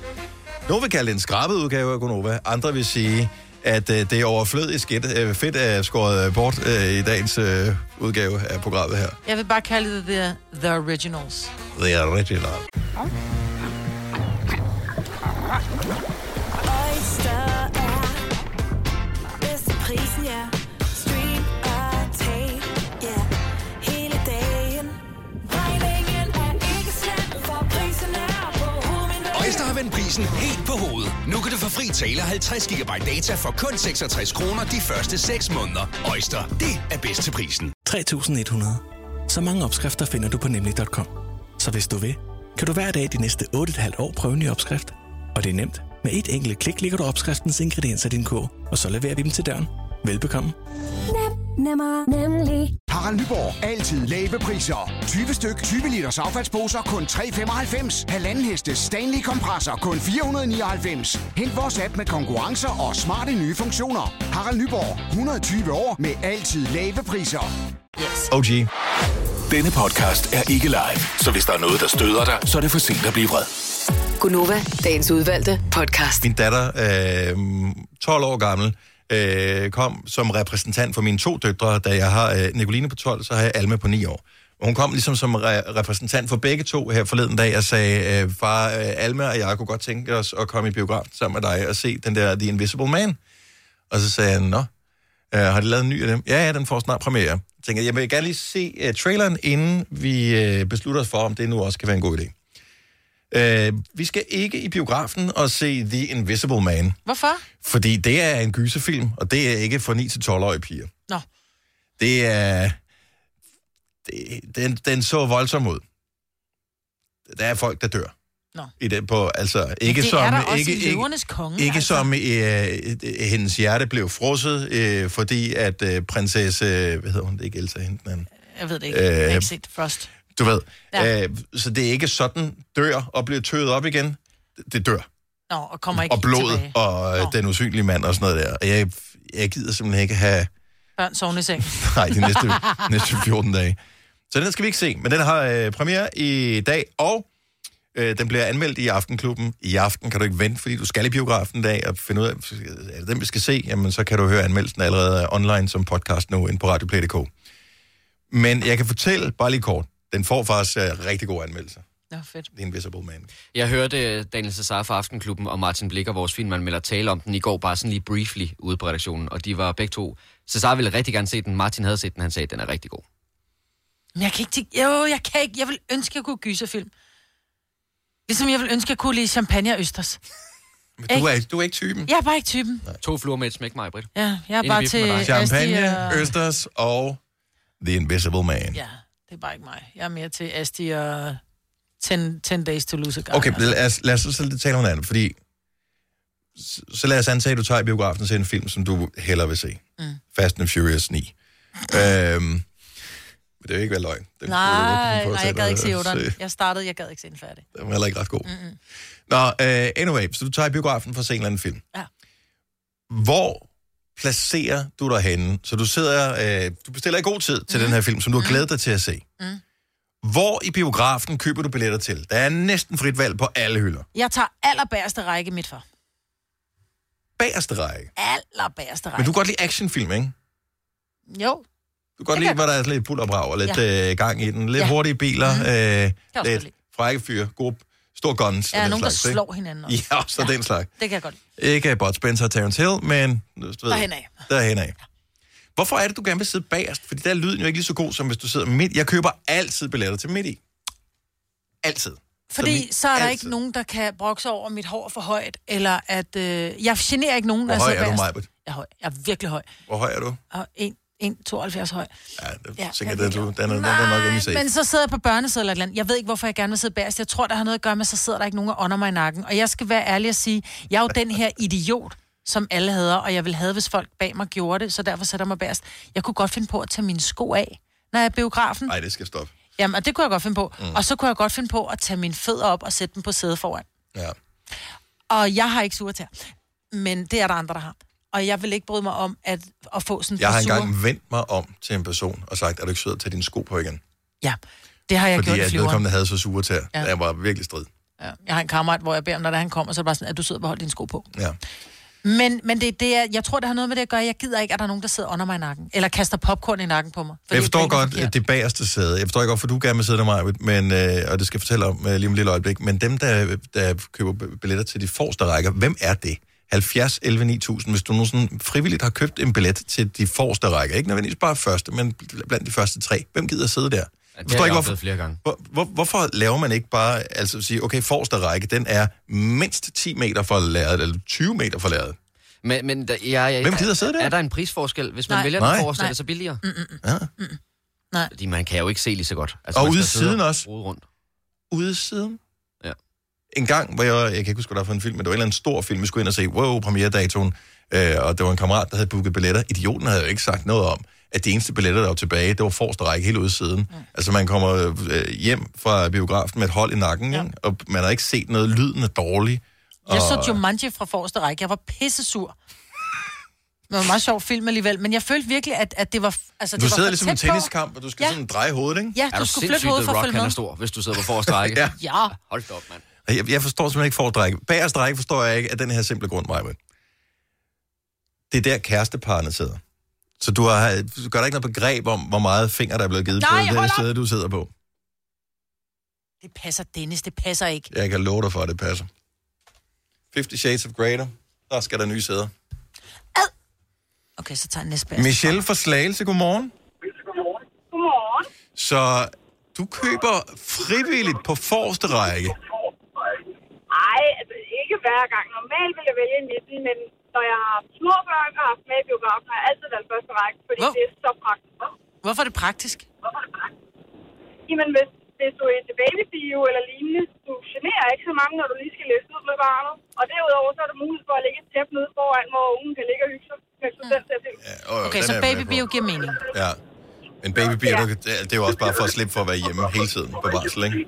Speaker 1: Nogle vil kalde det en skrabet udgave af Gonova. Andre vil sige, at øh, det er overflødigt skidt. Øh, fedt er skåret øh, bort øh, i dagens øh, udgave af programmet her.
Speaker 2: Jeg vil bare kalde det the, the originals.
Speaker 1: Det er rigtig langt.
Speaker 7: Oyster er bedst til prisen, ja. Stream og tag, ja. Hele dagen. Regningen er ikke slem, for prisen er på
Speaker 17: Øjster har vendt prisen helt på hovedet. Nu kan du få fri tale 50 GB data for kun 66 kroner de første 6 måneder. Øjster, det er bedst til prisen.
Speaker 13: 3.100. Så mange opskrifter finder du på nemlig.com. Så hvis du vil, kan du hver dag de næste 8,5 år prøve en ny opskrift. Og det er nemt. Med et enkelt klik ligger du opskriftens ingredienser i din kog, og så leverer vi dem til døren. Velbekomme.
Speaker 10: Nem, nemmer, nemlig. Harald Nyborg. Altid lave priser. 20 styk, 20 liters affaldsposer kun 3,95. Halvanden heste Stanley kompresser kun 499. Hent vores app med konkurrencer og smarte nye funktioner. Harald Nyborg. 120 år med altid lave priser.
Speaker 2: Yes.
Speaker 1: OG.
Speaker 17: Denne podcast er ikke live, så hvis der er noget, der støder dig, så er det for sent at blive vred.
Speaker 4: Gunova, dagens udvalgte podcast.
Speaker 1: Min datter, øh, 12 år gammel, øh, kom som repræsentant for mine to døtre, da jeg har øh, Nicoline på 12, så har jeg Alma på 9 år. Og Hun kom ligesom som re- repræsentant for begge to her forleden dag og sagde, øh, far, øh, Alma og jeg kunne godt tænke os at komme i biografen sammen med dig og se den der The Invisible Man. Og så sagde jeg, nå, øh, har de lavet en ny af dem? Ja, ja, den får snart premiere. Jeg tænkte, jeg vil gerne lige se øh, traileren, inden vi øh, beslutter os for, om det nu også kan være en god idé. Øh, vi skal ikke i biografen og se The Invisible Man,
Speaker 2: Hvorfor?
Speaker 1: fordi det er en gyserfilm, og det er ikke for 9-12-årige piger.
Speaker 2: Nå.
Speaker 1: Det er... Det, den, den så voldsom ud. Der er folk, der dør.
Speaker 2: Nå.
Speaker 1: I det, på, altså, ikke
Speaker 2: det
Speaker 1: som,
Speaker 2: er der også
Speaker 1: ikke,
Speaker 2: i Løvernes Konge,
Speaker 1: Ikke
Speaker 2: altså.
Speaker 1: som øh, øh, hendes hjerte blev frosset, øh, fordi at øh, prinsesse... Hvad hedder hun? Det er ikke Elsa, hende den anden.
Speaker 2: Jeg ved det ikke. Jeg har
Speaker 1: Øh,
Speaker 2: ikke set Frost.
Speaker 1: Du ved.
Speaker 2: Ja.
Speaker 1: Ja. Øh, så det er ikke sådan, dør og bliver tøet op igen. Det dør.
Speaker 2: Nå, og kommer ikke
Speaker 1: og blod
Speaker 2: tilbage.
Speaker 1: og øh, den usynlige mand og sådan noget der. Og jeg, jeg gider simpelthen ikke have...
Speaker 2: Børn sovende i seng.
Speaker 1: Nej, de næste, næste 14 dage. Så den skal vi ikke se, men den har øh, premiere i dag, og øh, den bliver anmeldt i Aftenklubben. I aften kan du ikke vente, fordi du skal i biografen i dag og finde ud af, er det den, vi skal se? Jamen, så kan du høre anmeldelsen allerede online som podcast nu inde på radioplay.dk. Men jeg kan fortælle, bare lige kort, den får faktisk øh, rigtig gode anmeldelser.
Speaker 2: Nå, fedt.
Speaker 1: The Invisible Man.
Speaker 3: Jeg hørte øh, Daniel Cesar fra Aftenklubben og Martin Blikker, vores filmanmelder, tale om den i går, bare sådan lige briefly ude på redaktionen, og de var begge to. Cesar ville rigtig gerne se den, Martin havde set den, han sagde, at den er rigtig god.
Speaker 2: Men jeg kan ikke tænke, jo, jeg kan ikke, jeg vil ønske, at jeg kunne gyserfilm. Ligesom jeg vil ønske, at jeg kunne lide champagne og østers.
Speaker 1: Du er, du er ikke typen.
Speaker 2: Jeg er bare ikke typen.
Speaker 3: To fluer med et smæk, mig, Britt.
Speaker 2: Ja, jeg er bare til
Speaker 1: Champagne,
Speaker 2: Asti og...
Speaker 1: Østers og The Invisible Man.
Speaker 2: Ja, det er bare ikke mig. Jeg er mere til Asti og 10, 10 Days to Lose a Guy.
Speaker 1: Okay, lad os, lad os så lidt tale om noget andet, fordi så, så lad os antage, at du tager i biografen og ser en film, som du hellere vil se. Mm. Fast and Furious 9. øhm, men det er jo ikke være løgn. Den
Speaker 2: Nej,
Speaker 1: kunne du åbne på
Speaker 2: nej,
Speaker 1: at
Speaker 2: jeg gad ikke se
Speaker 1: og
Speaker 2: otteren. Jeg startede, jeg gad ikke se den færdig.
Speaker 1: Den var heller ikke ret god.
Speaker 2: Mm-mm.
Speaker 1: Nå, uh, anyway, så du tager i biografen for at se en eller anden film.
Speaker 2: Ja.
Speaker 1: Hvor placerer du dig henne? Så du sidder, øh, du bestiller i god tid til mm. den her film, som du har glædet dig til at se.
Speaker 2: Mm-hmm. Mm.
Speaker 1: Hvor i biografen køber du billetter til? Der er næsten frit valg på alle hylder.
Speaker 2: Jeg tager allerbærste række midt for.
Speaker 1: Bagerste række.
Speaker 2: Allerbærste række.
Speaker 1: Men du kan godt lide actionfilm, ikke?
Speaker 2: Jo,
Speaker 1: Du kan godt lide, hvor der er lidt put og brag og lidt
Speaker 2: Ja.
Speaker 1: ja. øh, gang i den. Lidt
Speaker 2: Ja.
Speaker 1: ja. hurtige biler,
Speaker 2: Mhm.
Speaker 1: mm.
Speaker 2: også
Speaker 1: øh,
Speaker 2: godt
Speaker 1: lidt frække fyre, gode, store guns.
Speaker 2: Ja,
Speaker 1: og den
Speaker 2: nogen, der
Speaker 1: slags, ikke?
Speaker 2: slår hinanden også.
Speaker 1: Ja, så ja. den slags.
Speaker 2: det kan jeg godt lide.
Speaker 1: Ikke Bud Spencer og Terrence Hill, men du ved,
Speaker 2: Derhenad.
Speaker 1: derhenad. Hvorfor er det, du gerne vil sidde bagerst? Fordi der er lyden jo ikke lige så god, som hvis du sidder midt. Jeg køber altid billetter til midt i. Altid.
Speaker 2: Fordi
Speaker 1: mit- altså-
Speaker 2: så er der
Speaker 1: altid.
Speaker 2: ikke nogen, der kan brokse over at mit hår er for højt, eller at... Øh, jeg generer ikke nogen,
Speaker 1: Hvor
Speaker 2: når
Speaker 1: høj
Speaker 2: jeg sidder
Speaker 1: er du,
Speaker 2: bagerst.
Speaker 1: Majbert?
Speaker 2: Jeg er høj. Jeg er virkelig høj.
Speaker 1: Hvor høj er du?
Speaker 2: Og 1,72 høj.
Speaker 1: Ja, det
Speaker 2: Ja,
Speaker 1: er sikkert,
Speaker 2: jeg
Speaker 1: at du, den er, den er nok inde i
Speaker 2: Men så sidder jeg på børneseddel eller et eller andet. Jeg ved ikke, hvorfor jeg gerne vil sidde bagerst. Jeg tror, der har noget at gøre med, så sidder der ikke nogen og ånder mig i nakken. Og jeg skal være ærlig og sige, jeg er jo den her idiot, som alle hader, og jeg vil have, hvis folk bag mig gjorde det, så derfor sætter jeg mig bagerst. Jeg kunne godt finde på at tage mine sko af, når jeg er i biografen.
Speaker 1: Nej, det skal stoppe.
Speaker 2: Jamen, og det kunne jeg godt finde på. Mm.
Speaker 1: Mm.
Speaker 2: Og så kunne jeg godt finde på at tage mine fødder op og sætte dem på sædet foran.
Speaker 1: Ja.
Speaker 2: Og jeg har ikke sure tær. Men det er der andre, der har. Og jeg vil ikke bryde mig om at, at få sådan
Speaker 1: Jeg har
Speaker 2: sure-
Speaker 1: engang vendt mig om til en person og sagt, er du ikke sød at tage dine sko på igen?
Speaker 2: Ja, det har jeg
Speaker 1: Fordi
Speaker 2: gjort i
Speaker 1: at
Speaker 2: flyveren.
Speaker 1: vedkommende havde så sure tær.
Speaker 2: Ja.
Speaker 1: Ja. Jeg var virkelig strid.
Speaker 2: Ja. Jeg har en kammerat, hvor jeg beder om, når der han kommer, så er det bare sådan, at du sidder og beholder dine sko på.
Speaker 1: Ja.
Speaker 2: Men, men det, det er, jeg tror, det har noget med det at gøre. Jeg gider ikke, at der er nogen, der sidder under mig i nakken. Eller kaster popcorn i nakken på mig.
Speaker 1: Fordi jeg forstår
Speaker 2: griner
Speaker 1: godt
Speaker 2: forkert.
Speaker 1: at det bagerste sæde. Jeg forstår ikke, hvorfor du gerne vil sidde der, Maja, men, øh, og det skal jeg fortælle om øh, lige om et lille øjeblik. Men dem, der, der køber b- billetter til de forreste rækker, hvem er det? 70, 11, 9000. Hvis du nu sådan frivilligt har købt en billet til de forreste rækker, ikke nødvendigvis bare første, men bl- blandt de første tre, hvem gider sidde der?
Speaker 3: Ja,
Speaker 1: Jeg
Speaker 3: det har jeg
Speaker 1: forstår ikke,
Speaker 3: oplevet
Speaker 1: hvorfor,
Speaker 3: flere gange.
Speaker 1: hvor, hvor, hvorfor laver man ikke bare, altså at sige, okay, forreste række, den er mindst 10 meter fra lærredet, eller 20 meter fra lærredet.
Speaker 3: Men, men der, ja, ja,
Speaker 1: Hvem gider sidde der?
Speaker 3: Er der en prisforskel? Hvis man
Speaker 2: Nej.
Speaker 3: vælger
Speaker 1: Nej.
Speaker 3: den forreste, er
Speaker 2: Nej. Mm,
Speaker 3: det så billigere?
Speaker 1: Ja.
Speaker 2: Nej.
Speaker 3: Fordi man kan jo ikke se lige så godt. Altså,
Speaker 1: Og
Speaker 3: man skal
Speaker 1: ude
Speaker 3: sidde
Speaker 1: siden
Speaker 3: og
Speaker 1: også.
Speaker 3: rode Rundt.
Speaker 1: ude siden.
Speaker 3: Ja.
Speaker 1: En gang, hvor jeg, jeg kan ikke huske, hvad der var for en film, men det var en eller anden stor film, vi skulle ind og se, wow, premieredatoen, øh, og det var en kammerat, der havde booket billetter. Idioten havde jo ikke sagt noget om, at de eneste billetter, der var tilbage, det var forreste række helt ude siden. Mm. Altså, man kommer øh, hjem fra biografen med et hold i nakken, ja. og man har ikke set noget, lyden er dårlig.
Speaker 2: Jeg så Jumanji fra forreste række. Jeg var pissesur. Det var en meget sjov film alligevel, men jeg følte virkelig, at, at det var... Altså,
Speaker 1: Du
Speaker 2: det var
Speaker 1: sidder
Speaker 2: for
Speaker 1: ligesom i
Speaker 2: tæt
Speaker 1: en
Speaker 2: på.
Speaker 1: tenniskamp, og du skal
Speaker 2: Ja.
Speaker 1: ja. sådan dreje hovedet, ikke?
Speaker 2: Ja, du Er du skulle flytte sindssyg, hovedet The for at Rock, følge han er med.
Speaker 3: stor, hvis du sidder på forreste række.
Speaker 1: ja.
Speaker 2: Ja.
Speaker 3: Hold da op, mand.
Speaker 1: Jeg, jeg forstår simpelthen ikke fordrække. Bagerst række forstår jeg ikke af den her simple grund, Maja. Det er der kæresteparne sidder. Så du, har, du gør dig ikke noget begreb om, hvor meget finger, der er blevet givet
Speaker 2: Nej,
Speaker 1: på
Speaker 2: hold
Speaker 1: det
Speaker 2: op!
Speaker 1: sted, du sidder på.
Speaker 2: Det passer, Dennis. Det passer ikke.
Speaker 1: Jeg kan love dig for, at det passer. 50 Shades of Greater. Der skal der nye sæder.
Speaker 2: Okay, så tager jeg næste bæreste.
Speaker 1: Michelle fra Slagelse, godmorgen.
Speaker 16: Godmorgen.
Speaker 1: Så du køber frivilligt på forreste række.
Speaker 16: Ej, altså ikke hver gang. Normalt vil jeg vælge en midten, men når jeg har haft små børn og haft med i biografen, har jeg altid valgt første række, fordi det er så praktisk.
Speaker 2: Hvorfor er det praktisk?
Speaker 16: Jamen, hvis, hvis du er til babybio eller lignende, du generer ikke så mange, når du lige skal læse ud med barnet. Og derudover, så er der mulighed for at lægge et tæppe nede foran, hvor ungen kan ligge og hygge sig, mens du selv ser film.
Speaker 1: Åh, jo,
Speaker 2: Okay,
Speaker 1: øh, den
Speaker 2: så
Speaker 1: er jeg med
Speaker 2: babybio giver mening.
Speaker 1: Ja. Men babybier, ja. det det er jo også bare for at slippe for at være hjemme hele tiden på barsel, ikke?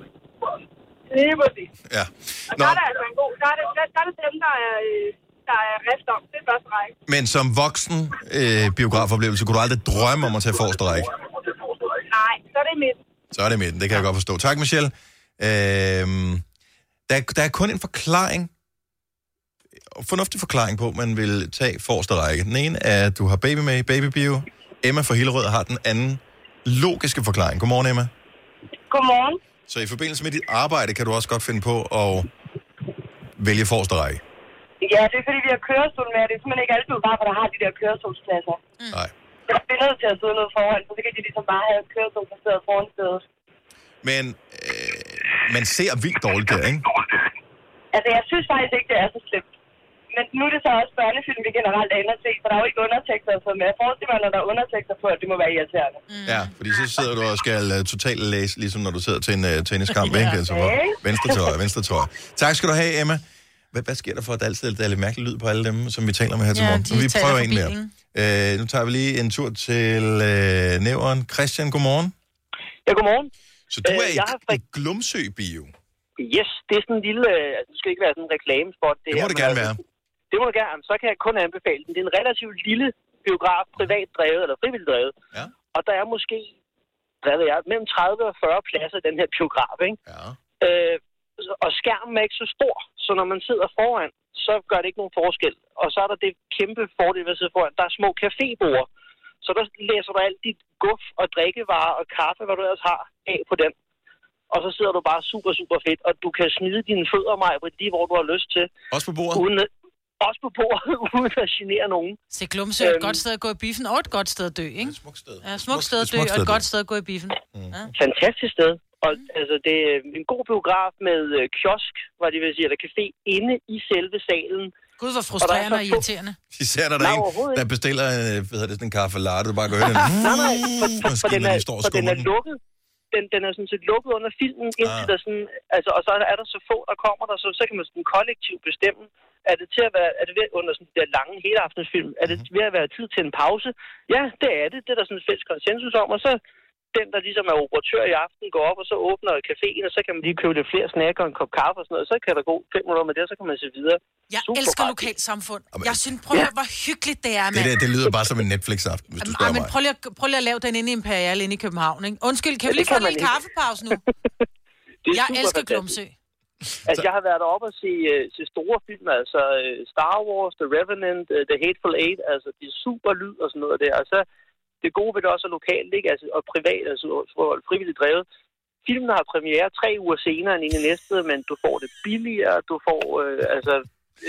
Speaker 16: Lige præcis.
Speaker 1: Ja.
Speaker 16: Og
Speaker 1: Nå.
Speaker 16: der er der altså en god... Der er det, der, der er det dem, der er, øh, der er rift om. Det er første række.
Speaker 1: Men som voksen øh, biografoplevelse kunne du aldrig drømme om at tage forreste række.
Speaker 16: Nej, så er det mit.
Speaker 1: Så er det midten, det kan jeg godt forstå. Tak, Michelle. Øhm, der, der er kun en forklaring, en fornuftig forklaring på, at man vil tage forreste række. Den ene er, at du har baby med i babybio. Emma fra Hillerød har den anden logiske forklaring. Godmorgen, Emma.
Speaker 16: Godmorgen.
Speaker 1: Så i forbindelse med dit arbejde, kan du også godt finde på at vælge forreste række.
Speaker 16: Ja, det er fordi, vi har kørestol med, og det er simpelthen ikke altid bare, for der har de der kørestolspladser.
Speaker 1: Mm. Nej.
Speaker 16: Jeg bliver nødt til at sidde noget foran, så kan de ligesom bare have kørestol placeret foran stedet.
Speaker 1: Men øh, man ser vildt dårligt der, ikke?
Speaker 16: Altså, jeg synes faktisk ikke, det er så slemt. Men nu er det så også børnefilm, vi generelt er inde at se, for der er jo ikke undertekster og sådan noget. Men jeg forestiller mig, når der er undertekster på, at det må være irriterende.
Speaker 1: Ja,
Speaker 2: Mm.
Speaker 1: fordi så sidder du og skal uh, totalt læse, ligesom når du sidder til en uh, tenniskamp, ikke? Altså, hvor venstre tøj, venstre tøj. Tak skal du have, Emma. Hvad, hvad sker der for, at der altid der er lidt mærkelig lyd på alle dem, som vi taler med her til
Speaker 2: Ja,
Speaker 1: morgen?
Speaker 2: de
Speaker 1: Men Altså, vi
Speaker 2: taler
Speaker 1: prøver
Speaker 2: forbi,
Speaker 1: en mere. Uh, nu tager vi lige en tur til uh, næveren. Christian, godmorgen.
Speaker 18: Ja, godmorgen.
Speaker 1: Så du er
Speaker 18: Øh,
Speaker 1: i,
Speaker 18: jeg har
Speaker 1: i Glumsø Bio.
Speaker 18: Yes, det er sådan en lille... øh, Altså, det skal ikke være sådan en reklamespot. Det,
Speaker 1: Det må
Speaker 18: her,
Speaker 1: det
Speaker 18: men
Speaker 1: gerne
Speaker 18: altså,
Speaker 1: være.
Speaker 18: Det må det gerne. Så kan jeg kun anbefale den. Det er en relativt lille biograf, privat drevet eller frivilligt drevet.
Speaker 1: Ja.
Speaker 18: Og der er måske, hvad ved jeg, mellem 30 og 40 pladser i den her biograf, ikke?
Speaker 1: Ja.
Speaker 18: Øh, så- og skærmen er ikke så stor, så når man sidder foran, så gør det ikke nogen forskel. Og så er der det kæmpe fordel ved at sidde foran. Der er små cafébord, så der læser du alt dit guf og drikkevarer og kaffe, hvad du ellers har, af på den og så sidder du bare super, super fedt, og du kan smide dine fødder, mig, lige hvor du har lyst til.
Speaker 1: Også på bordet?
Speaker 18: Uden, også på bordet, uden at genere nogen.
Speaker 2: Se, Glumsø er et godt sted at gå i biffen, og et godt sted at dø, ikke? Øhm. Et
Speaker 1: smukt sted.
Speaker 2: Ja, et smukt sted at dø,
Speaker 18: smukt
Speaker 2: og
Speaker 18: sted
Speaker 2: et
Speaker 18: at
Speaker 2: godt
Speaker 18: dø.
Speaker 2: sted at gå i biffen. Ja.
Speaker 18: Fantastisk sted. Og altså, det er en god biograf med øh, kiosk, var det vil sige, eller café, inde i selve salen.
Speaker 2: Gud, hvor
Speaker 18: Og der
Speaker 2: frustrerende
Speaker 18: er
Speaker 2: og
Speaker 18: så to-
Speaker 2: irriterende.
Speaker 1: Især når der
Speaker 18: Nej,
Speaker 1: er en,
Speaker 18: overhovedet
Speaker 1: der
Speaker 18: ikke.
Speaker 1: bestiller øh, hvad hedder det, sådan en kaffe latte, du bare går ind og...
Speaker 18: nej, nej, for, for, for,
Speaker 1: Måske,
Speaker 18: den,
Speaker 1: når
Speaker 18: er,
Speaker 1: de står og
Speaker 18: for den er
Speaker 1: skubber den.
Speaker 18: lukket. Den, den er sådan set lukket under filmen, indtil
Speaker 1: Ah.
Speaker 18: der sådan, altså, og så er der så få, der kommer der, så, så kan man sådan kollektivt bestemme, er det, til at være, er det ved, under sådan der lange hele aftensfilm, er
Speaker 1: Mhm.
Speaker 18: det ved at være tid til en pause? Ja, det er det. Det er der sådan en fælles konsensus om, og så den, der ligesom er operatør i aften, går op, og så åbner caféen, og så kan man lige købe lidt flere snack og en kop kaffe og sådan noget, så kan der gå fem minutter med det, og så kan man se videre.
Speaker 2: Jeg
Speaker 18: Super
Speaker 2: elsker
Speaker 18: rart.
Speaker 2: lokalsamfund. Jeg synes, prøv at høre, hvor hyggeligt det er,
Speaker 1: Det,
Speaker 2: mand.
Speaker 1: der, det lyder bare som en Netflix-aften, hvis du
Speaker 2: Jamen,
Speaker 1: spørger
Speaker 2: ej, men
Speaker 1: mig.
Speaker 2: prøv lige, at, prøv lige at lave den inde i Imperial inde i København, ikke? Undskyld, kan vi
Speaker 18: Ja,
Speaker 2: lige
Speaker 18: det
Speaker 2: få
Speaker 18: kan
Speaker 2: en
Speaker 18: man
Speaker 2: lille
Speaker 18: ikke.
Speaker 2: kaffepause nu?
Speaker 18: Det er
Speaker 2: Jeg
Speaker 18: super
Speaker 2: elsker
Speaker 18: fantastisk.
Speaker 2: Glumsø.
Speaker 18: Altså, jeg har været oppe og se, øh, se store film, altså øh, Star Wars, The Revenant, øh, The Hateful Eight, altså de er super lyd og sådan noget der. Og så det gode ved det også er lokalt, ikke? Altså, og privat, altså for- frivilligt drevet. Filmen har premiere tre uger senere end en i næste, men du får det billigere, du får, øh, altså...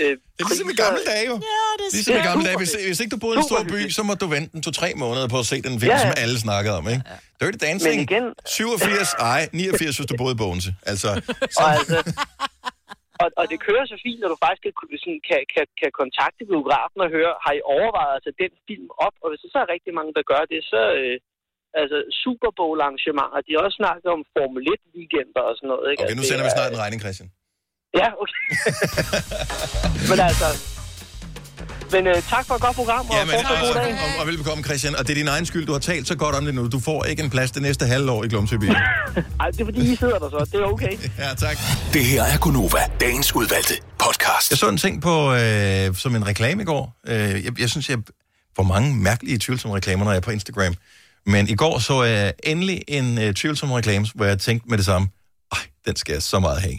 Speaker 18: Øh, det
Speaker 1: er ligesom i gamle dage, jo.
Speaker 2: Ja, det
Speaker 1: Ligesom i gamle dage, hvis, hvis ikke du boede i en stor by, så må du vente en to-tre måneder på at se den film,
Speaker 18: Ja,
Speaker 1: ja.
Speaker 18: ja.
Speaker 1: som alle snakkede om, ikke? Dirty Dancing,
Speaker 18: Men igen-
Speaker 1: 87, ej, 89, hvis du boede i Bogense. Altså,
Speaker 18: Og, altså, og, og det kører så fint, at du faktisk kan, sådan, kan, kan, kan kontakte biografen og høre, har I overvejet at tage den film op? Og hvis der så er rigtig mange, der gør det, så øh, altså Super Bowl arrangementer, de har også snakket om Formel 1 weekender og sådan noget. Ikke?
Speaker 1: okay, nu
Speaker 18: Altså,
Speaker 1: sender vi
Speaker 18: det er-
Speaker 1: snart en regning, Christian.
Speaker 18: Ja, okay. men altså... Men øh, tak for et godt program, og
Speaker 1: Jamen, altså,
Speaker 18: fortsat god
Speaker 1: og,
Speaker 18: dag.
Speaker 1: og, og velbekomme, Christian. Og det er din egen skyld, du har talt så godt om det nu. Du får ikke en plads det næste halvår i Glumsøby.
Speaker 18: Ej, det er fordi, I sidder der så. Det er okay.
Speaker 1: ja, tak.
Speaker 17: Det her er Gonova, dagens udvalgte podcast.
Speaker 1: Jeg så en ting på, øh, som en reklame i går. Øh, jeg, jeg synes, jeg får mange mærkelige tvivlsomme reklamer, når jeg er på Instagram. Men i går så jeg endelig en øh, tvivlsom reklame, hvor jeg tænkte med det samme, ej, den skal jeg så meget have.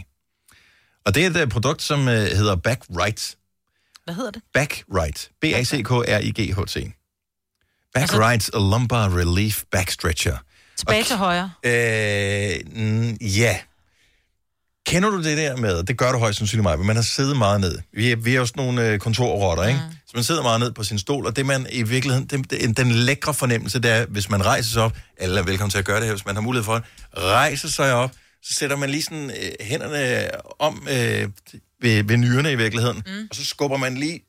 Speaker 1: Og det er et øh, produkt, som øh, hedder Backright.
Speaker 2: Hvad hedder det?
Speaker 1: Backright. B-A-C-K-R-I-G-H-T. Backright, a lumbar relief backstretcher.
Speaker 2: Tilbage til højre.
Speaker 1: Øh, mm, ja. Kender du det der med, det gør du højst sandsynligt meget, men man har siddet meget ned. Vi er, vi er jo sådan nogle øh, kontorrotter, ikke? Så man sidder meget ned på sin stol, og det man i virkeligheden, det, det, den lækre fornemmelse, det er, hvis man rejser sig op, alle er velkommen til at gøre det her, hvis man har mulighed for det, rejser sig op, så sætter man lige sådan øh, hænderne om øh, ved, ved nyrene i virkeligheden, mm. og så skubber man lige,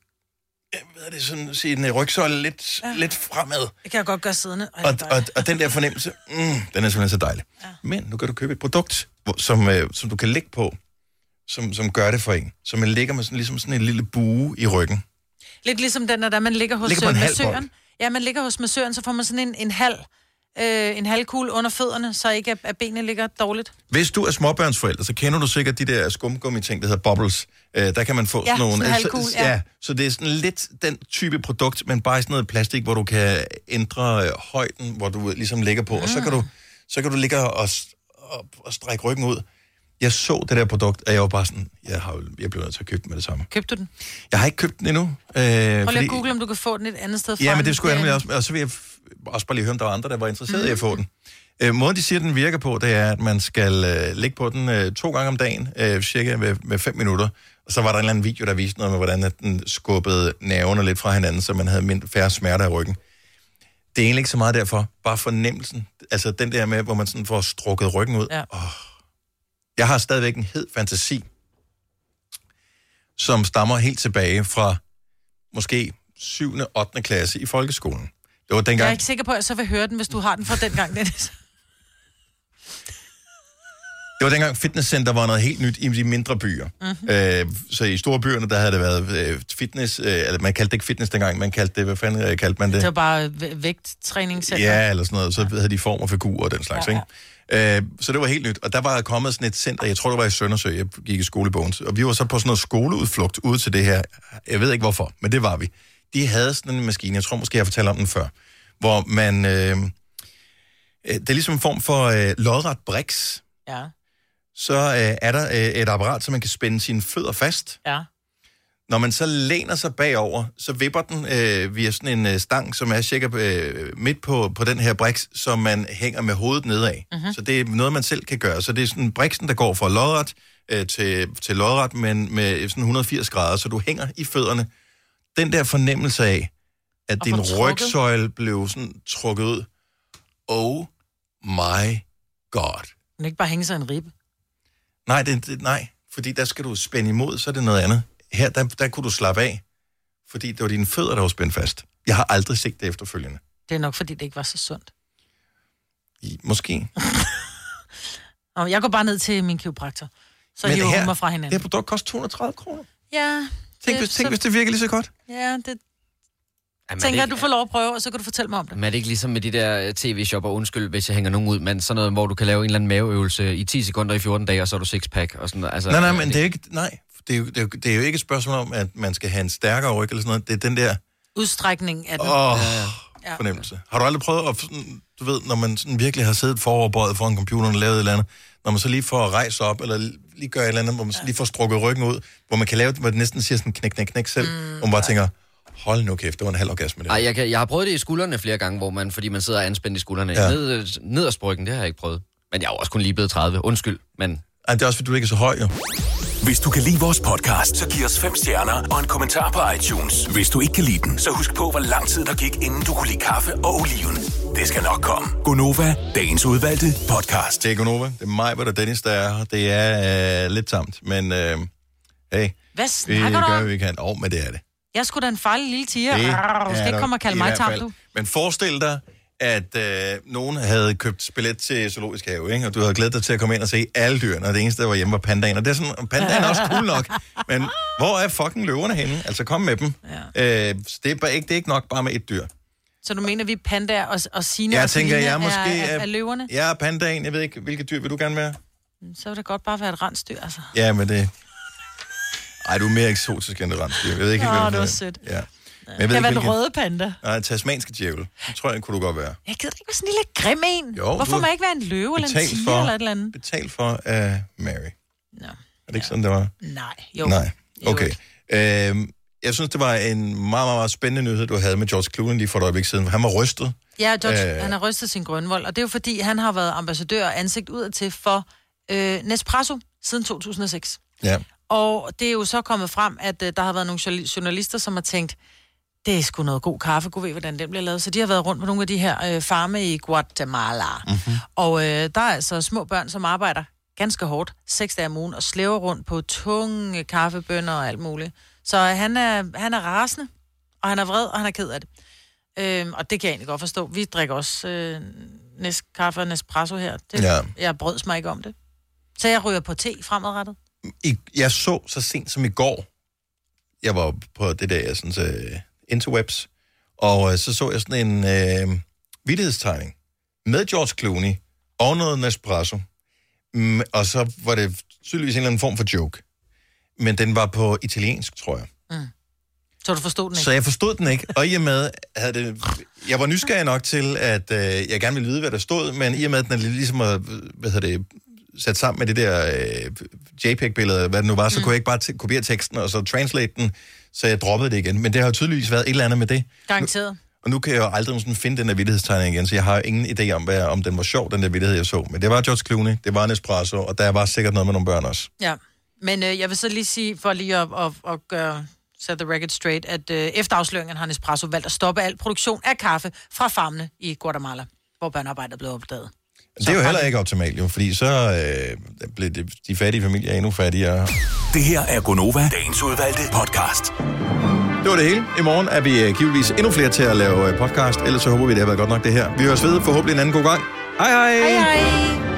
Speaker 1: øh, hvad er det sådan, sin rygsøjle lidt, ja. lidt fremad.
Speaker 2: Det kan jeg godt gøre siddende. Ej,
Speaker 1: Og,
Speaker 2: hvor er
Speaker 1: og, og den der fornemmelse, mm, den er simpelthen så dejlig. Ja. Men nu kan du købe et produkt, hvor, som, øh, som du kan lægge på, som, som gør det for en. Så man ligger med sådan, ligesom sådan en lille bue i ryggen.
Speaker 2: Lidt ligesom den, der man ligger hos
Speaker 1: Ligger på en
Speaker 2: øh,
Speaker 1: halv bold.
Speaker 2: massøren. Ja, man ligger hos massøren, så får man sådan en, en halv øh, en halvkugle under fødderne, så ikke at, at benene ligger dårligt.
Speaker 1: Hvis du er småbørnsforældre, så kender du sikkert de der skumgummi-ting, der hedder bubbles. Øh, der kan man få
Speaker 2: Ja,
Speaker 1: sådan nogle...
Speaker 2: sådan en
Speaker 1: altså,
Speaker 2: halvkugle, ja.
Speaker 1: ja. så det er sådan lidt den type produkt, men bare i sådan noget plastik, hvor du kan ændre øh, højden, hvor du ligesom ligger på, mm. og så kan du, så kan du ligge og, s- og, og strække ryggen ud. Jeg så det der produkt, og jeg var bare sådan, jeg, har, jo- jeg blev nødt til at købe den med det samme.
Speaker 2: Købte du den?
Speaker 1: Jeg har ikke købt den endnu. Øh,
Speaker 2: Prøv lige at google, om du kan få den et andet sted fra.
Speaker 1: Ja, men
Speaker 2: end
Speaker 1: det skulle jeg nemlig
Speaker 2: derinde.
Speaker 1: også, og så vil jeg f- også bare lige høre, om der var andre, der var interesseret i at få den. Øh, måden, de siger, den virker på, det er, at man skal øh, ligge på den øh, to gange om dagen, øh, cirka med, med fem minutter. Og så var der en eller anden video, der viste noget med, hvordan at den skubbede nerverne lidt fra hinanden, så man havde mindre, færre smerter i ryggen. Det er egentlig ikke så meget derfor. Bare fornemmelsen. Altså den der med, hvor man sådan får strukket ryggen ud. Ja. Oh. Jeg har stadigvæk en hed fantasi, som stammer helt tilbage fra måske 7. og 8. klasse i folkeskolen. Det var
Speaker 2: Jeg er
Speaker 1: dengang,
Speaker 2: ikke sikker på, at jeg så vil høre den, hvis du har den fra dengang, Dennis.
Speaker 1: det var dengang fitnesscenter var noget helt nyt i de mindre byer.
Speaker 2: Mhm.
Speaker 1: Øh, så i store byerne, der havde det været øh, fitness, øh, eller man kaldte det ikke fitness dengang, man kaldte det, hvad fanden øh, kaldte man det?
Speaker 2: Det var bare væ- vægttræningscenter.
Speaker 1: Ja, eller sådan noget. Så havde de form og figur og den slags, ja, ja. ikke? Øh, så det var helt nyt. Og der var kommet sådan et center, jeg tror, det var i Søndersø, jeg gik i skolebogens. Og vi var så på sådan noget skoleudflugt ude til det her. Jeg ved ikke hvorfor, men det var vi. De havde sådan en maskine, jeg tror måske, jeg fortalte om den før, hvor man... Øh, øh, det er ligesom en form for øh, lodret briks.
Speaker 2: Ja.
Speaker 1: Så øh, er der øh, et apparat, så man kan spænde sine fødder fast.
Speaker 2: Ja.
Speaker 1: Når man så læner sig bagover, så vipper den øh, via sådan en øh, stang, som er cirka øh, midt på, på den her briks, som man hænger med hovedet nedad.
Speaker 5: Mhm.
Speaker 1: Mm-hmm. Så det er noget, man selv kan gøre. Så det er sådan briksen, der går fra lodret øh, til, til lodret, men med sådan 180 grader, så du hænger i fødderne. Den der fornemmelse af, at
Speaker 5: Og
Speaker 1: din
Speaker 5: få trukket.
Speaker 1: rygsøjle blev sådan trukket ud. Oh my god.
Speaker 2: Den ikke bare hænge sig i en ribbe.
Speaker 1: Nej, det, det, nej, fordi der skal du spænde imod, så er det noget andet. Her, der, der kunne du slappe af, fordi det var dine fødder, der var spændt fast. Jeg har aldrig set det efterfølgende.
Speaker 2: Det er nok, fordi det ikke var så sundt.
Speaker 1: I, måske.
Speaker 2: Nå, jeg går bare ned til min kiropraktor. Så
Speaker 1: Men
Speaker 2: hiver
Speaker 1: her-
Speaker 2: hun mig fra hinanden.
Speaker 1: det her produkt koster 230 kroner.
Speaker 2: Ja.
Speaker 1: Tænk, hvis, tænk, hvis det virker lige så godt.
Speaker 2: Ja, det
Speaker 3: Jamen, er det
Speaker 2: tænker jeg,
Speaker 3: ikke-
Speaker 2: du får lov at prøve, og så kan du fortælle mig om det.
Speaker 3: Men er det ikke ligesom med de der øh, tv-shopper, undskyld, hvis jeg hænger nogen ud, men sådan noget, hvor du kan lave en eller anden maveøvelse i 10 sekunder i 14 dage, og så er du sixpack og sådan noget. Altså,
Speaker 1: nej, nej, men det er, ikke, nej, det, er jo, det, er jo, det er jo ikke et spørgsmål om, at man skal have en stærkere ryg eller sådan noget. Det er den der
Speaker 2: Udstrækning af den.
Speaker 1: åh,
Speaker 2: Ja.
Speaker 1: fornemmelse. Har du aldrig prøvet at, sådan, du ved, når man sådan virkelig har siddet foroverbøjet foran computeren og lavet et eller andet, når man så lige får rejst sig op, eller lige gør et eller andet, hvor man ja. lige får strukket ryggen ud, hvor man kan lave det, hvor det næsten siger sådan knæk, knæk, knæk selv, mm, hvor man bare tænker, hold nu kæft, det var en halv orgasme. Det.
Speaker 3: Ej, jeg, kan, jeg har prøvet det i skuldrene flere gange, hvor man, fordi man sidder anspændt i skuldrene. Ja.
Speaker 1: Ja.
Speaker 3: Ned, nederst ryggen, det har jeg ikke prøvet. Men jeg er jo også kun lige blevet 30. Undskyld, men...
Speaker 1: Ej, det er også, fordi du ikke er så høj, jo.
Speaker 17: Hvis du kan lide vores podcast, så giv os fem stjerner og en kommentar på iTunes. Hvis du ikke kan lide den, så husk på, hvor lang tid der gik, inden du kunne lide kaffe og oliven. Det skal nok komme.
Speaker 1: Gonova, dagens udvalgte podcast. Det er Gonova, det er mig, hvor der er Dennis, der er her. Det er øh, lidt tamt, men øh, hey,
Speaker 2: Hvad
Speaker 1: vi
Speaker 2: snakker du
Speaker 1: gør,
Speaker 2: om?
Speaker 1: hvad vi kan. Åh, oh, men det er det.
Speaker 2: Jeg skulle da en fejl lille tiger.
Speaker 1: Det
Speaker 2: Du
Speaker 1: er
Speaker 2: skal ikke
Speaker 1: der
Speaker 2: komme og kalde
Speaker 1: i
Speaker 2: mig
Speaker 1: hvert
Speaker 2: tam,
Speaker 1: fald.
Speaker 2: du.
Speaker 1: Men forestil dig, at øh, nogen havde købt billet til Zoologisk Have, ikke? og du havde glædet dig til at komme ind og se alle dyrene, og det eneste, der var hjemme, var pandaen. Og det er sådan, og pandaen er også cool nok, men hvor er fucking løverne henne? Altså, kom med dem. Ja. Øh, så det, er bare ikke, det er ikke nok bare med et dyr.
Speaker 2: Så du mener, vi er pandaer og, og sine
Speaker 1: Jeg
Speaker 2: og
Speaker 1: tænker,
Speaker 2: Selina
Speaker 1: jeg måske
Speaker 2: er, er,
Speaker 1: er-
Speaker 2: er løverne?
Speaker 1: Jeg er pandaen, jeg ved ikke, hvilket dyr vil du gerne være?
Speaker 2: Så vil det godt bare være et rensdyr, altså.
Speaker 1: Ja, men det... Ej, du er mere eksotisk end et rensdyr. Jeg ved ikke,
Speaker 2: Nå,
Speaker 1: helt, hvad
Speaker 2: det var
Speaker 1: er.
Speaker 2: sødt.
Speaker 1: Ja. Men
Speaker 2: Jeg kan være den
Speaker 1: hvilken-
Speaker 2: røde panda.
Speaker 1: Nej, tasmanske djævel. Det tror jeg, kunne du godt være.
Speaker 2: Jeg gider ikke være sådan en lille grim en.
Speaker 1: Jo,
Speaker 2: Hvorfor
Speaker 1: du-
Speaker 2: må jeg ikke være en løve eller en
Speaker 1: Betalt
Speaker 2: tiger
Speaker 1: for-
Speaker 2: eller et eller andet?
Speaker 1: Betalt for af uh, Mary. No. Er det ikke sådan, det var?
Speaker 2: Nej, jo.
Speaker 1: Nej, okay. Øhm, jeg synes, det var en meget, meget, meget spændende nyhed, du havde med George Clooney lige for et øjeblik siden. Han var rystet.
Speaker 2: Ja, George,
Speaker 1: Øh.
Speaker 2: øh... han har rystet sin grønvold, og det er jo fordi, han har været ambassadør og ansigt udadtil for øh, Nespresso siden 2006.
Speaker 1: Ja.
Speaker 2: Og det er jo så kommet frem, at øh, der har været nogle journal- journalister, som har tænkt, det er sgu noget god kaffe, god ved, hvordan den bliver lavet. Så de har været rundt på nogle af de her øh, farme i Guatemala. Mm-hmm. Og øh, der er altså små børn, som arbejder ganske hårdt, seks dage om ugen, og slæver rundt på tunge kaffebønder og alt muligt. Så øh, han er, han er rasende, og han er vred, og han er ked af det. Øhm, og det kan jeg egentlig godt forstå. Vi drikker også øh, Nescafé og Nespresso her. Det,
Speaker 1: Ja.
Speaker 2: ja. Jeg brøds mig ikke om det. Så jeg ryger på te fremadrettet.
Speaker 1: I, jeg så så sent som i går, jeg var på det der, jeg synes, øh, uh, interwebs, og uh, så så jeg sådan en uh, øh, vidtighedstegning, med George Clooney og noget Nespresso. Mm, og så var det tydeligvis en eller anden form for joke. Men den var på italiensk, tror jeg.
Speaker 2: Så du forstod den ikke?
Speaker 1: Så jeg forstod den ikke, og i og med, havde det, jeg var nysgerrig nok til, at øh, jeg gerne ville vide, hvad der stod, men i og med, at den er ligesom at, hvad hedder det, sat sammen med det der øh, JPEG-billede, hvad det nu var,
Speaker 2: Mm.
Speaker 1: så kunne jeg ikke bare t- kopiere teksten og så translate den, så jeg droppede det igen. Men det har jo tydeligvis været et eller andet med det.
Speaker 2: Garanteret.
Speaker 1: Og nu kan jeg jo aldrig sådan finde den der vittighedstegning igen, så jeg har jo ingen idé om, hvad, om den var sjov, den der vittighed, jeg så. Men det var George Clooney, det var en espresso, og der var sikkert noget med nogle børn også.
Speaker 2: Ja, men øh, jeg vil så lige sige, for lige at, at, at gøre set the record straight, at øh, efter afsløringen har Nespresso valgt at stoppe al produktion af kaffe fra farmene i Guatemala, hvor børnearbejdet blev opdaget.
Speaker 1: Det er jo heller ikke optimalt, jo, fordi så øh, blev det, de fattige familier endnu fattigere. Det her er Gonova, dagens udvalgte podcast. Det var det hele. I morgen er vi øh, givetvis endnu flere til at lave øh, podcast, ellers så håber vi, det har været godt nok det her. Vi høres ved forhåbentlig en anden god gang. Hej hej! hej, hej.